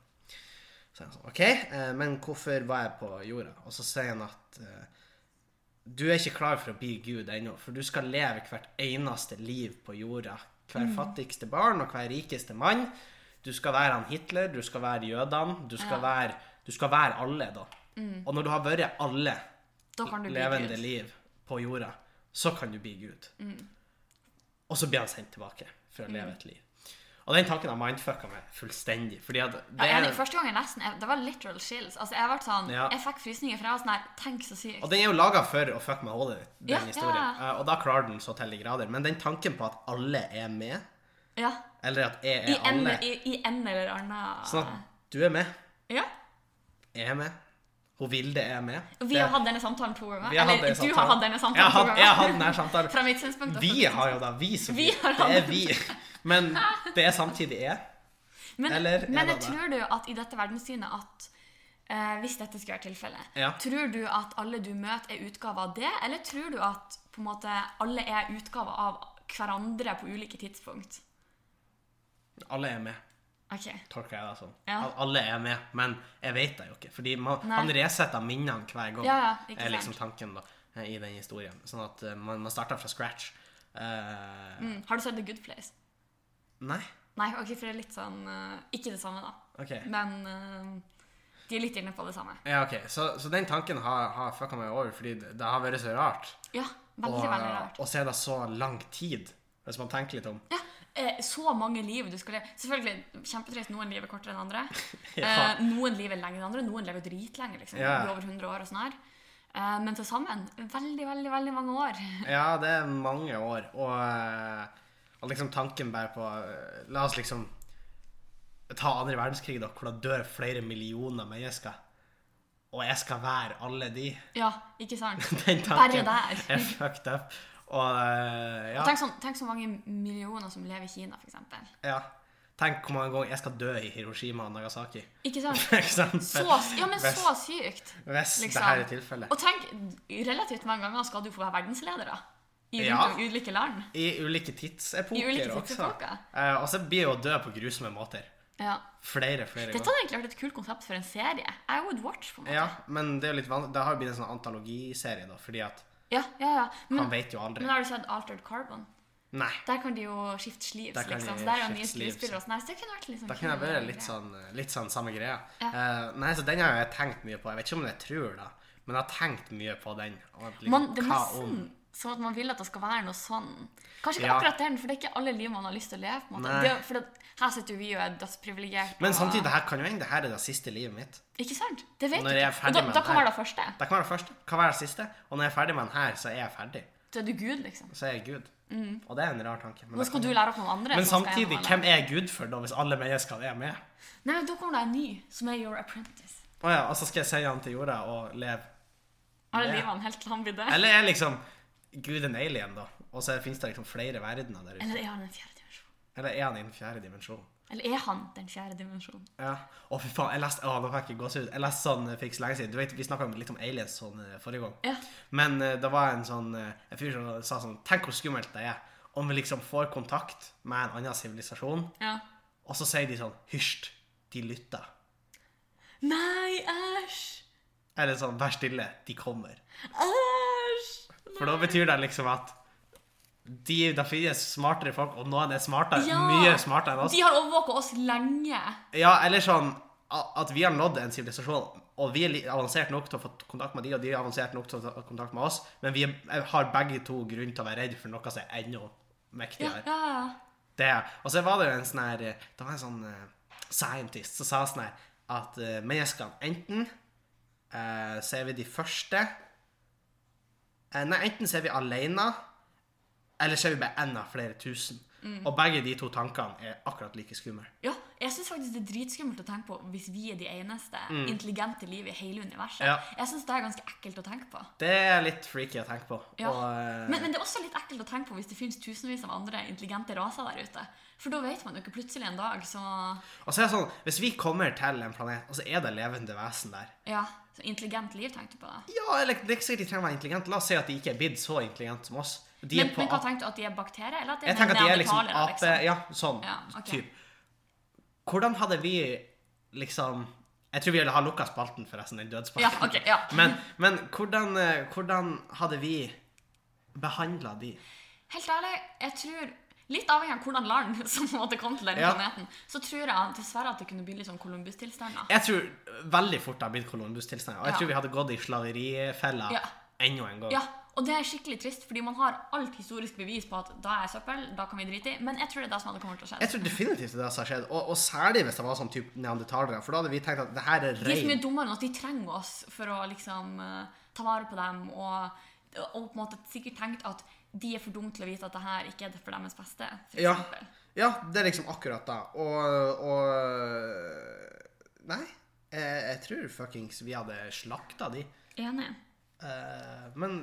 Speaker 1: Så er han sånn, ok, eh, men hvorfor var jeg på jorda? Og så sier han at eh, du er ikke klar for å bli Gud ennå, for du skal leve hvert eneste liv på jorda. Hver fattigste barn og hver rikeste mann. Du skal være han Hitler, du skal være jødene, du skal, være, du skal være alle da. Og når du har vært alle,
Speaker 2: Da kan du bli
Speaker 1: levende
Speaker 2: Gud.
Speaker 1: liv på jorda, så kan du bli Gud.
Speaker 2: Mm.
Speaker 1: Og så blir han sendt tilbake for å leve et liv. Og den tanken har mindfucka meg fullstendig. Fordi at det
Speaker 2: Ja,
Speaker 1: er,
Speaker 2: enig, første gang jeg leste den, jeg- det var literal chills. Altså, jeg, ble sånn,
Speaker 1: Ja.
Speaker 2: jeg fikk frysninger, for jeg var sånn her, tenk så sykt.
Speaker 1: og den er jo laga for å fucke med hodet ditt, den
Speaker 2: Ja,
Speaker 1: historien.
Speaker 2: ja.
Speaker 1: Eh, Og da klarer den så til de grader. Men den tanken på at alle er med,
Speaker 2: Ja.
Speaker 1: eller at jeg
Speaker 2: I
Speaker 1: er
Speaker 2: en,
Speaker 1: alle
Speaker 2: i, I en eller annen
Speaker 1: Sånn at du er med,
Speaker 2: Ja.
Speaker 1: jeg er med, hun Vilde er med.
Speaker 2: Vi
Speaker 1: Det-
Speaker 2: har hatt denne samtalen to ganger.
Speaker 1: vi har hatt
Speaker 2: Eller
Speaker 1: den
Speaker 2: du har
Speaker 1: samtalen.
Speaker 2: hatt denne
Speaker 1: Jeg
Speaker 2: samtalen
Speaker 1: har hatt-
Speaker 2: to
Speaker 1: Jeg har hatt
Speaker 2: ganger.
Speaker 1: denne samtalen.
Speaker 2: Fra mitt synspunkt. altså. og fra
Speaker 1: Vi
Speaker 2: ditt
Speaker 1: har jo da vi som
Speaker 2: Vi har
Speaker 1: Det er
Speaker 2: hatt-
Speaker 1: vi. Men det er samtidig jeg.
Speaker 2: synspunkt. Men,
Speaker 1: eller en
Speaker 2: men
Speaker 1: av
Speaker 2: jeg
Speaker 1: det.
Speaker 2: tror du at i dette verdenssynet at eh, hvis dette skulle være tilfellet,
Speaker 1: Ja.
Speaker 2: tror du at alle du møter, er utgave av det, eller tror du at på en måte, alle er utgave av hverandre på ulike tidspunkt?
Speaker 1: Alle er med.
Speaker 2: Ok.
Speaker 1: tolker jeg det som.
Speaker 2: Ja.
Speaker 1: At alle er med, men jeg vet det jo ikke. Fordi man,
Speaker 2: Nei.
Speaker 1: han resetter minnene hver gang,
Speaker 2: Ja, ja, ikke
Speaker 1: er liksom
Speaker 2: sant.
Speaker 1: tanken da, i den historien. Sånn at eh, man, man starter fra scratch. Eh,
Speaker 2: Mm. Har du sett The Good Place?
Speaker 1: Nei?
Speaker 2: Nei, ok, for det er litt sånn eh, Ikke det samme, da.
Speaker 1: OK.
Speaker 2: Men eh, de er litt inne på det samme.
Speaker 1: Ja, ok. Så, så den tanken har, har fucka meg over, fordi det, det har vært så rart.
Speaker 2: Ja, veldig,
Speaker 1: Og,
Speaker 2: veldig rart.
Speaker 1: og så er det så lang tid, hvis man tenker litt om.
Speaker 2: Ja, eh, så mange liv du skal leve. Selvfølgelig, kjempetrist. Noen liv er kortere enn andre.
Speaker 1: Ja.
Speaker 2: eh, noen liv er lenger enn andre. Noen lever dritlenge. liksom.
Speaker 1: Ja.
Speaker 2: Blir over 100 år og sånn her. Eh, men til sammen veldig, veldig veldig mange år.
Speaker 1: Ja, det er mange år. Og, eh, og liksom tanken bare på eh, La oss liksom ta andre verdenskrig, da, hvor det dør flere millioner mennesker. Og jeg skal være alle de.
Speaker 2: Ja, ikke sant?
Speaker 1: Den
Speaker 2: Bare
Speaker 1: tanken
Speaker 2: der.
Speaker 1: er fucked up. Og eh, ja,
Speaker 2: Tenk, sånn, tenk så mange millioner som lever i Kina, f.eks.
Speaker 1: ja. Tenk hvor mange ganger jeg skal dø i Hiroshima og Nagasaki.
Speaker 2: Ikke sant?
Speaker 1: For eksempel.
Speaker 2: Så, ja, men
Speaker 1: Hvis-
Speaker 2: så sykt.
Speaker 1: Hvis
Speaker 2: liksom.
Speaker 1: det her er tilfellet.
Speaker 2: Og tenk, relativt mange ganger skal du få være verdensleder da. i rundt
Speaker 1: Ja.
Speaker 2: om i ulike land.
Speaker 1: I ulike tidsepoker
Speaker 2: I ulike
Speaker 1: også.
Speaker 2: tidsepoker.
Speaker 1: Eh, og så blir jo død på grusomme måter.
Speaker 2: Ja.
Speaker 1: Flere, flere
Speaker 2: Dette hadde egentlig vært et kult konsept for en serie. I would watch, på en måte.
Speaker 1: Ja, men det er jo litt vanskelig. Det har jo blitt en sånn antologiserie, da, fordi at
Speaker 2: Ja, ja, ja.
Speaker 1: han
Speaker 2: Men,
Speaker 1: vet jo aldri.
Speaker 2: men har du sett Altered Carbon?
Speaker 1: Nei.
Speaker 2: Der kan de jo skifte sleeves,
Speaker 1: Der kan de
Speaker 2: liksom. Så der er jo nye
Speaker 1: skifte sleeves,
Speaker 2: skuespillere og sånn. Nei, så det kunne vært liksom
Speaker 1: Da kan jeg være litt sånn, litt sånn samme greia.
Speaker 2: Ja.
Speaker 1: Eh, nei, så den har jeg tenkt mye på. Jeg vet ikke om jeg tror da, men jeg har tenkt mye på den. og at liksom,
Speaker 2: man, Det er
Speaker 1: hva
Speaker 2: nesten sånn at man vil at det skal være noe sånn. Kanskje ikke
Speaker 1: Ja.
Speaker 2: akkurat den, for det er ikke alle liv man har lyst til å leve. på en måte.
Speaker 1: Nei.
Speaker 2: Det, er jo- for det, her sitter jo vi og er dødsprivilegerte.
Speaker 1: Men
Speaker 2: og-
Speaker 1: samtidig, det her kan jo hende det her er det siste livet mitt.
Speaker 2: Ikke sant? Det vet
Speaker 1: Når
Speaker 2: du
Speaker 1: jeg er
Speaker 2: ikke.
Speaker 1: ferdig
Speaker 2: Og da,
Speaker 1: med
Speaker 2: da
Speaker 1: den
Speaker 2: kan
Speaker 1: her.
Speaker 2: være det første.
Speaker 1: Det kan være det første, kan være det siste. Og når jeg er ferdig med den her, så er jeg ferdig.
Speaker 2: Da er du Gud, liksom.
Speaker 1: Så er jeg Gud. Og det er en rar tanke. Men, det
Speaker 2: Nå Mm. skal
Speaker 1: kan-
Speaker 2: du lære opp noen andre.
Speaker 1: men
Speaker 2: som skal
Speaker 1: samtidig,
Speaker 2: gjennom
Speaker 1: hvem
Speaker 2: alle.
Speaker 1: er jeg Gud for da, hvis alle mennesker er med?
Speaker 2: Nei, men Da kommer det en ny, som er Your Apprentice.
Speaker 1: Å ja, og så skal jeg sende han til jorda og leve
Speaker 2: Alle
Speaker 1: Ja.
Speaker 2: livene helt til han blir død.
Speaker 1: Eller er liksom Gud en alien, da? Og så finnes det liksom flere verdener der ute.
Speaker 2: Eller er han en fjerde dimensjon?
Speaker 1: Eller er han i den fjerde dimensjonen?
Speaker 2: Eller er han den fjerde dimensjonen?
Speaker 1: Ja. Å, fy faen. Jeg leste å, nå fikk jeg gåsehud. Jeg leste sånn eh, for ikke så lenge siden. Du vet, Vi snakka litt om aliens sånn eh, forrige gang.
Speaker 2: Ja.
Speaker 1: Men eh, det var en sånn eh, En fyr som sa sånn Tenk hvor skummelt det er om vi liksom får kontakt med en annen sivilisasjon,
Speaker 2: ja.
Speaker 1: og så sier de sånn Hysj, de lytter.
Speaker 2: Nei, æsj!
Speaker 1: Eller sånn Vær stille, de kommer.
Speaker 2: Æsj!
Speaker 1: For da betyr det liksom at de, det finnes smartere folk, og noen er smartere,
Speaker 2: Ja.
Speaker 1: mye smartere enn oss.
Speaker 2: De har overvåka oss lenge.
Speaker 1: Ja, eller sånn a- at vi har nådd en sivilisasjon, og vi er li- avansert nok til å få kontakt med de, og de er avansert nok til å ta kontakt med oss, men vi er- eh, har begge to grunn til å være redd for noe som er enda
Speaker 2: Ja,
Speaker 1: mektigere.
Speaker 2: ja, ja.
Speaker 1: Det, og så var det jo en sånn her Det var en sånn eh, scientist som sa sånn her at eh, menneskene enten eh, ser vi de første eh, Nei, enten ser vi alene, eller ser vi bare en av flere tusen.
Speaker 2: Mm.
Speaker 1: Og begge de to tankene er akkurat like skumle.
Speaker 2: Ja, jeg syns faktisk det er dritskummelt å tenke på hvis vi er de eneste intelligente liv i hele universet.
Speaker 1: Mm. Ja.
Speaker 2: Jeg syns det er ganske ekkelt å tenke på.
Speaker 1: Det er litt freaky å tenke på.
Speaker 2: Ja.
Speaker 1: Og, eh,
Speaker 2: Men, men det er også litt ekkelt å tenke på hvis det finnes tusenvis av andre intelligente raser der ute. For da vet man jo ikke plutselig en dag, så
Speaker 1: og så er det sånn, Hvis vi kommer til en planet, og så er det levende vesen der
Speaker 2: Ja, så intelligent liv tenkte du på det.
Speaker 1: Ja, eller det er ikke sikkert de trenger å være intelligente. La oss si at de ikke er blitt så intelligente som oss. De er
Speaker 2: Men,
Speaker 1: på
Speaker 2: men hva
Speaker 1: ap-
Speaker 2: tenkte du? At de er bakterier? Eller at de
Speaker 1: Jeg tenker at de er liksom
Speaker 2: neandertalere,
Speaker 1: ape Ja, sånn
Speaker 2: Ja, ok.
Speaker 1: typ. Hvordan hadde vi liksom Jeg tror vi ville ha lukka spalten, forresten. Den
Speaker 2: Ja,
Speaker 1: dødsspalten.
Speaker 2: ok, ja.
Speaker 1: Men, men hvordan, eh, hvordan hadde vi behandla de?
Speaker 2: Helt ærlig, jeg tror Litt avhengig av hvordan land som måtte komme til denne
Speaker 1: Ja.
Speaker 2: planeten, så tror jeg dessverre at det kunne bli litt sånn Columbus-tilstander.
Speaker 1: Jeg tror veldig fort det hadde blitt Columbus-tilstander. Og jeg
Speaker 2: Ja.
Speaker 1: tror vi hadde gått i slaverifella
Speaker 2: Ja.
Speaker 1: enda en gang.
Speaker 2: Ja, og det er skikkelig trist, fordi man har alt historisk bevis på at da er jeg søppel, da kan vi drite i, men jeg tror det er det som hadde kommet til å skje.
Speaker 1: Jeg tror definitivt det er det som har skjedd, og, og særlig hvis det var sånn typ neandertalere. For da hadde vi tenkt at det her er
Speaker 2: De er så
Speaker 1: rein
Speaker 2: mye dummere enn at de trenger oss for å liksom eh, ta vare på dem, og, og på en måte sikkert tenkt at de er for dumme til å vite at det her ikke er for deres beste, for
Speaker 1: Ja.
Speaker 2: eksempel.
Speaker 1: Ja, det er liksom akkurat da. Og, og Nei. Jeg, jeg tror fuckings vi hadde slakta de.
Speaker 2: Enig.
Speaker 1: Eh, men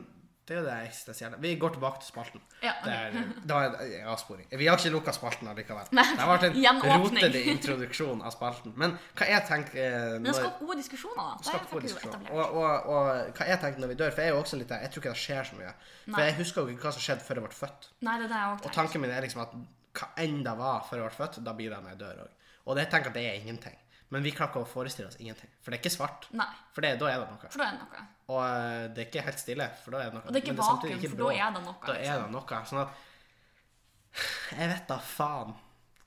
Speaker 1: det er jo det eksistensielle. Vi går tilbake til spalten.
Speaker 2: Ja, ok.
Speaker 1: Det, er, det var en en avsporing. Vi har ikke lukka spalten allikevel.
Speaker 2: Nei,
Speaker 1: Det har vært en
Speaker 2: gjenåpning.
Speaker 1: rotete introduksjon av spalten. Men hva jeg tenker eh,
Speaker 2: Men det
Speaker 1: når-
Speaker 2: har skapt gode diskusjoner, da. Det
Speaker 1: Skapt
Speaker 2: fikk
Speaker 1: god
Speaker 2: vi jo
Speaker 1: diskusjon.
Speaker 2: etablert.
Speaker 1: Og, og, og hva jeg tenkte når vi dør, for jeg er jo også litt der Jeg tror ikke det skjer så mye. For
Speaker 2: Nei.
Speaker 1: jeg husker jo ikke hva som skjedde før jeg ble født.
Speaker 2: Nei, det er det jeg òg
Speaker 1: Og
Speaker 2: tenker.
Speaker 1: tanken min er liksom at hva enn det var før jeg ble født, da blir det når jeg dør òg. Og det, jeg tenker at det er ingenting. Men vi klarer ikke å forestille oss ingenting. For det er ikke svart.
Speaker 2: Nei,
Speaker 1: For det, da er det noe.
Speaker 2: for da er det noe.
Speaker 1: Og eh, det er ikke helt stille, for da er det noe.
Speaker 2: Og det er ikke
Speaker 1: Men samtidig
Speaker 2: vakuum,
Speaker 1: ikke
Speaker 2: for
Speaker 1: blå.
Speaker 2: da er det noe, liksom.
Speaker 1: Da er det noe. Sånn at Jeg vet da faen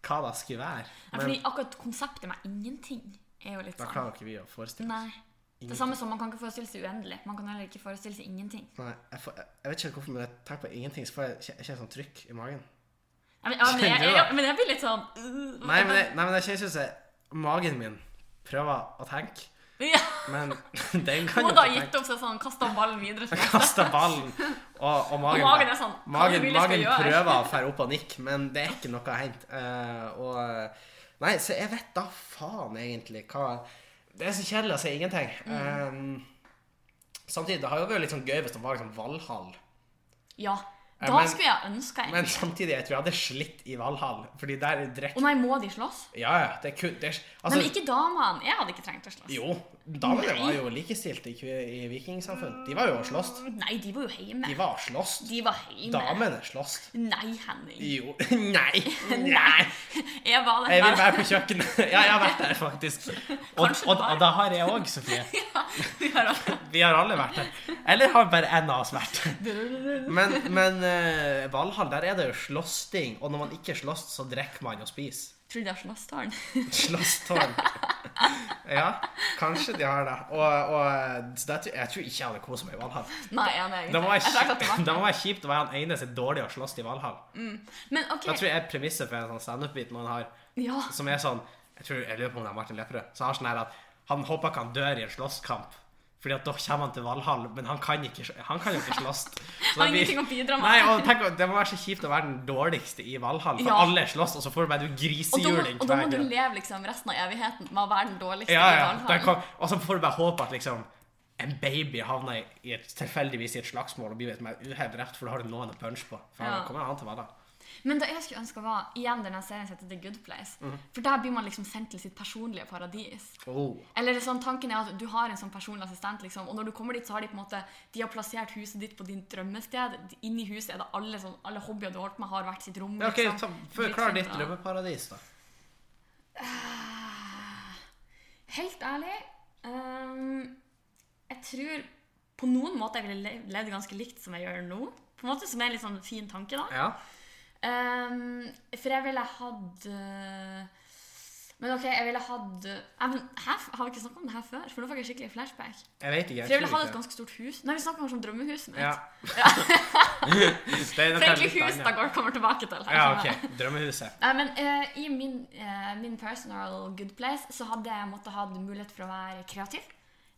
Speaker 1: hva det skulle være.
Speaker 2: Nei,
Speaker 1: Men
Speaker 2: fordi akkurat konseptet med ingenting er jo litt
Speaker 1: da
Speaker 2: sånn
Speaker 1: klarer ikke vi å forestille oss.
Speaker 2: Nei. Det samme som man kan ikke forestille seg uendelig. Man kan heller ikke forestille seg ingenting.
Speaker 1: Nei, jeg, får, jeg, jeg vet ikke helt hvorfor, men jeg tenker på ingenting, så får jeg kje- jeg kjenner sånn trykk i magen.
Speaker 2: Mm. Ja, men, ja, men, jeg,
Speaker 1: Skjønner du
Speaker 2: jeg,
Speaker 1: da?
Speaker 2: ja, men jeg blir litt sånn øh,
Speaker 1: Nei, men, jeg, nei, men jeg kjenner at magen min prøver å tenke,
Speaker 2: ja,
Speaker 1: men den kan jo
Speaker 2: Hodet
Speaker 1: ikke
Speaker 2: har
Speaker 1: tenke.
Speaker 2: gitt opp seg sånn, kasta ballen videre. til neste.
Speaker 1: Kaster ballen, og, og magen,
Speaker 2: Og magen er sånn, hva
Speaker 1: magen,
Speaker 2: vil jeg
Speaker 1: magen
Speaker 2: skal gjøre?
Speaker 1: prøver å fære opp og nikke, men det er ikke noe å hente. Eh, og, nei, så jeg vet da faen egentlig hva Det er så kjedelig å si ingenting.
Speaker 2: Mm.
Speaker 1: Eh, samtidig, det har jo vært litt sånn gøy hvis det var liksom Valhall.
Speaker 2: Ja.
Speaker 1: Ja,
Speaker 2: Da
Speaker 1: men-
Speaker 2: skulle jeg ønska en.
Speaker 1: Men samtidig, jeg tror jeg hadde slitt i Valhall, fordi der drikker
Speaker 2: Å nei, må de slåss?
Speaker 1: Ja, ja. Det er kun det er,
Speaker 2: Nei,
Speaker 1: altså,
Speaker 2: men ikke damene. Jeg hadde ikke trengt å slåss.
Speaker 1: Jo, damene
Speaker 2: Nei.
Speaker 1: var jo likestilte i, kvi- i vikingsamfunn. De var jo og slåss.
Speaker 2: Nei, de var jo hjemme.
Speaker 1: De var og slåss.
Speaker 2: De var hjemme.
Speaker 1: Damene slåss.
Speaker 2: Nei, Henning.
Speaker 1: Jo. Nei. Nei.
Speaker 2: Jeg var
Speaker 1: Jeg vil
Speaker 2: der.
Speaker 1: være på kjøkkenet. Ja, jeg har vært der, faktisk. Og,
Speaker 2: Kanskje
Speaker 1: og,
Speaker 2: du har.
Speaker 1: og da har jeg òg, Sofie.
Speaker 2: Ja, vi har alle-
Speaker 1: Vi har alle vært der. Eller har bare en av oss vært der. Men, men eh, Valhall, der er det jo slåssting. Og når man ikke slåss, så drikker man og spiser.
Speaker 2: Tror du de har slåsstårn?
Speaker 1: Slåsstårn. Ja, kanskje de har det. Og, og så det, tror- jeg tror ikke jeg hadde kost meg i Valhall.
Speaker 2: Nei, jeg er med, egentlig.
Speaker 1: Det må være
Speaker 2: Jeg trakk at det var-
Speaker 1: kjipt, det må være kjipt å være han ene som er dårlig å slåss i Valhall.
Speaker 2: Men OK.
Speaker 1: Jeg tror jeg er premisset for en sånn standup-bit noen har.
Speaker 2: Ja.
Speaker 1: som er sånn Jeg tror jeg lurer på om det er Martin Lepperød. Så har han sånn her at han håper ikke han dør i en slåsskamp. Fordi at da kommer han til Valhall, men han kan ikke, han kan jo ikke slåss. Så
Speaker 2: Har
Speaker 1: det blir-
Speaker 2: ingenting å bidra med.
Speaker 1: Nei, og tenk, Det må være så kjipt å være den dårligste i Valhall, for
Speaker 2: Ja.
Speaker 1: alle slåss, og så får du bare du
Speaker 2: Og da, må,
Speaker 1: grisehjuling
Speaker 2: og da må
Speaker 1: hver
Speaker 2: du
Speaker 1: gang.
Speaker 2: leve liksom resten av evigheten med å være den dårligste
Speaker 1: Ja,
Speaker 2: i
Speaker 1: ja.
Speaker 2: Valhall.
Speaker 1: Der kom, og så får du bare håpe at liksom en baby havner i- i et, tilfeldigvis i et slagsmål og blir et mer uhell drept, for da har du noen å punche på. For
Speaker 2: Ja.
Speaker 1: da kommer han til Valhall.
Speaker 2: Men det jeg skulle ønske var igjen den her serien som heter The Good Place.
Speaker 1: Mm.
Speaker 2: For der blir man liksom sendt til sitt personlige paradis.
Speaker 1: Oh.
Speaker 2: Eller sånn, tanken er at du har en sånn personlig assistent, liksom, og når du kommer dit, så har de på en måte De har plassert huset ditt på ditt drømmested. Inni huset er det alle, sånn, alle hobbyer du har holdt med, har hvert sitt rom.
Speaker 1: Ja, ok,
Speaker 2: liksom.
Speaker 1: ta,
Speaker 2: Litt
Speaker 1: Forklar
Speaker 2: sånn,
Speaker 1: ditt
Speaker 2: da.
Speaker 1: drømmeparadis, da.
Speaker 2: Ah, Helt ærlig ehm, Jeg tror på noen måter jeg ville le- levd ganske likt som jeg gjør nå. På en måte Som er en litt sånn fin tanke, da.
Speaker 1: Ja.
Speaker 2: Ehm, for jeg ville hatt eh, Men ok, jeg ville hatt eh, men her, f- Har vi ikke snakket om det her før? For nå fikk jeg skikkelig flashback.
Speaker 1: Jeg vet ikke. Jeg
Speaker 2: For jeg ville
Speaker 1: tror
Speaker 2: hatt et
Speaker 1: ikke.
Speaker 2: ganske stort hus. Nei, vi snakket kanskje om drømmehuset mitt.
Speaker 1: Ja. det er
Speaker 2: For
Speaker 1: nok
Speaker 2: egentlig
Speaker 1: litt
Speaker 2: hus
Speaker 1: annet.
Speaker 2: da går kommer tilbake til. her,
Speaker 1: Ja,
Speaker 2: skjønner jeg.
Speaker 1: ok. Drømmehuset.
Speaker 2: Nei, men eh, I min, eh, min personal good place så hadde jeg måtte ha mulighet for å være kreativ.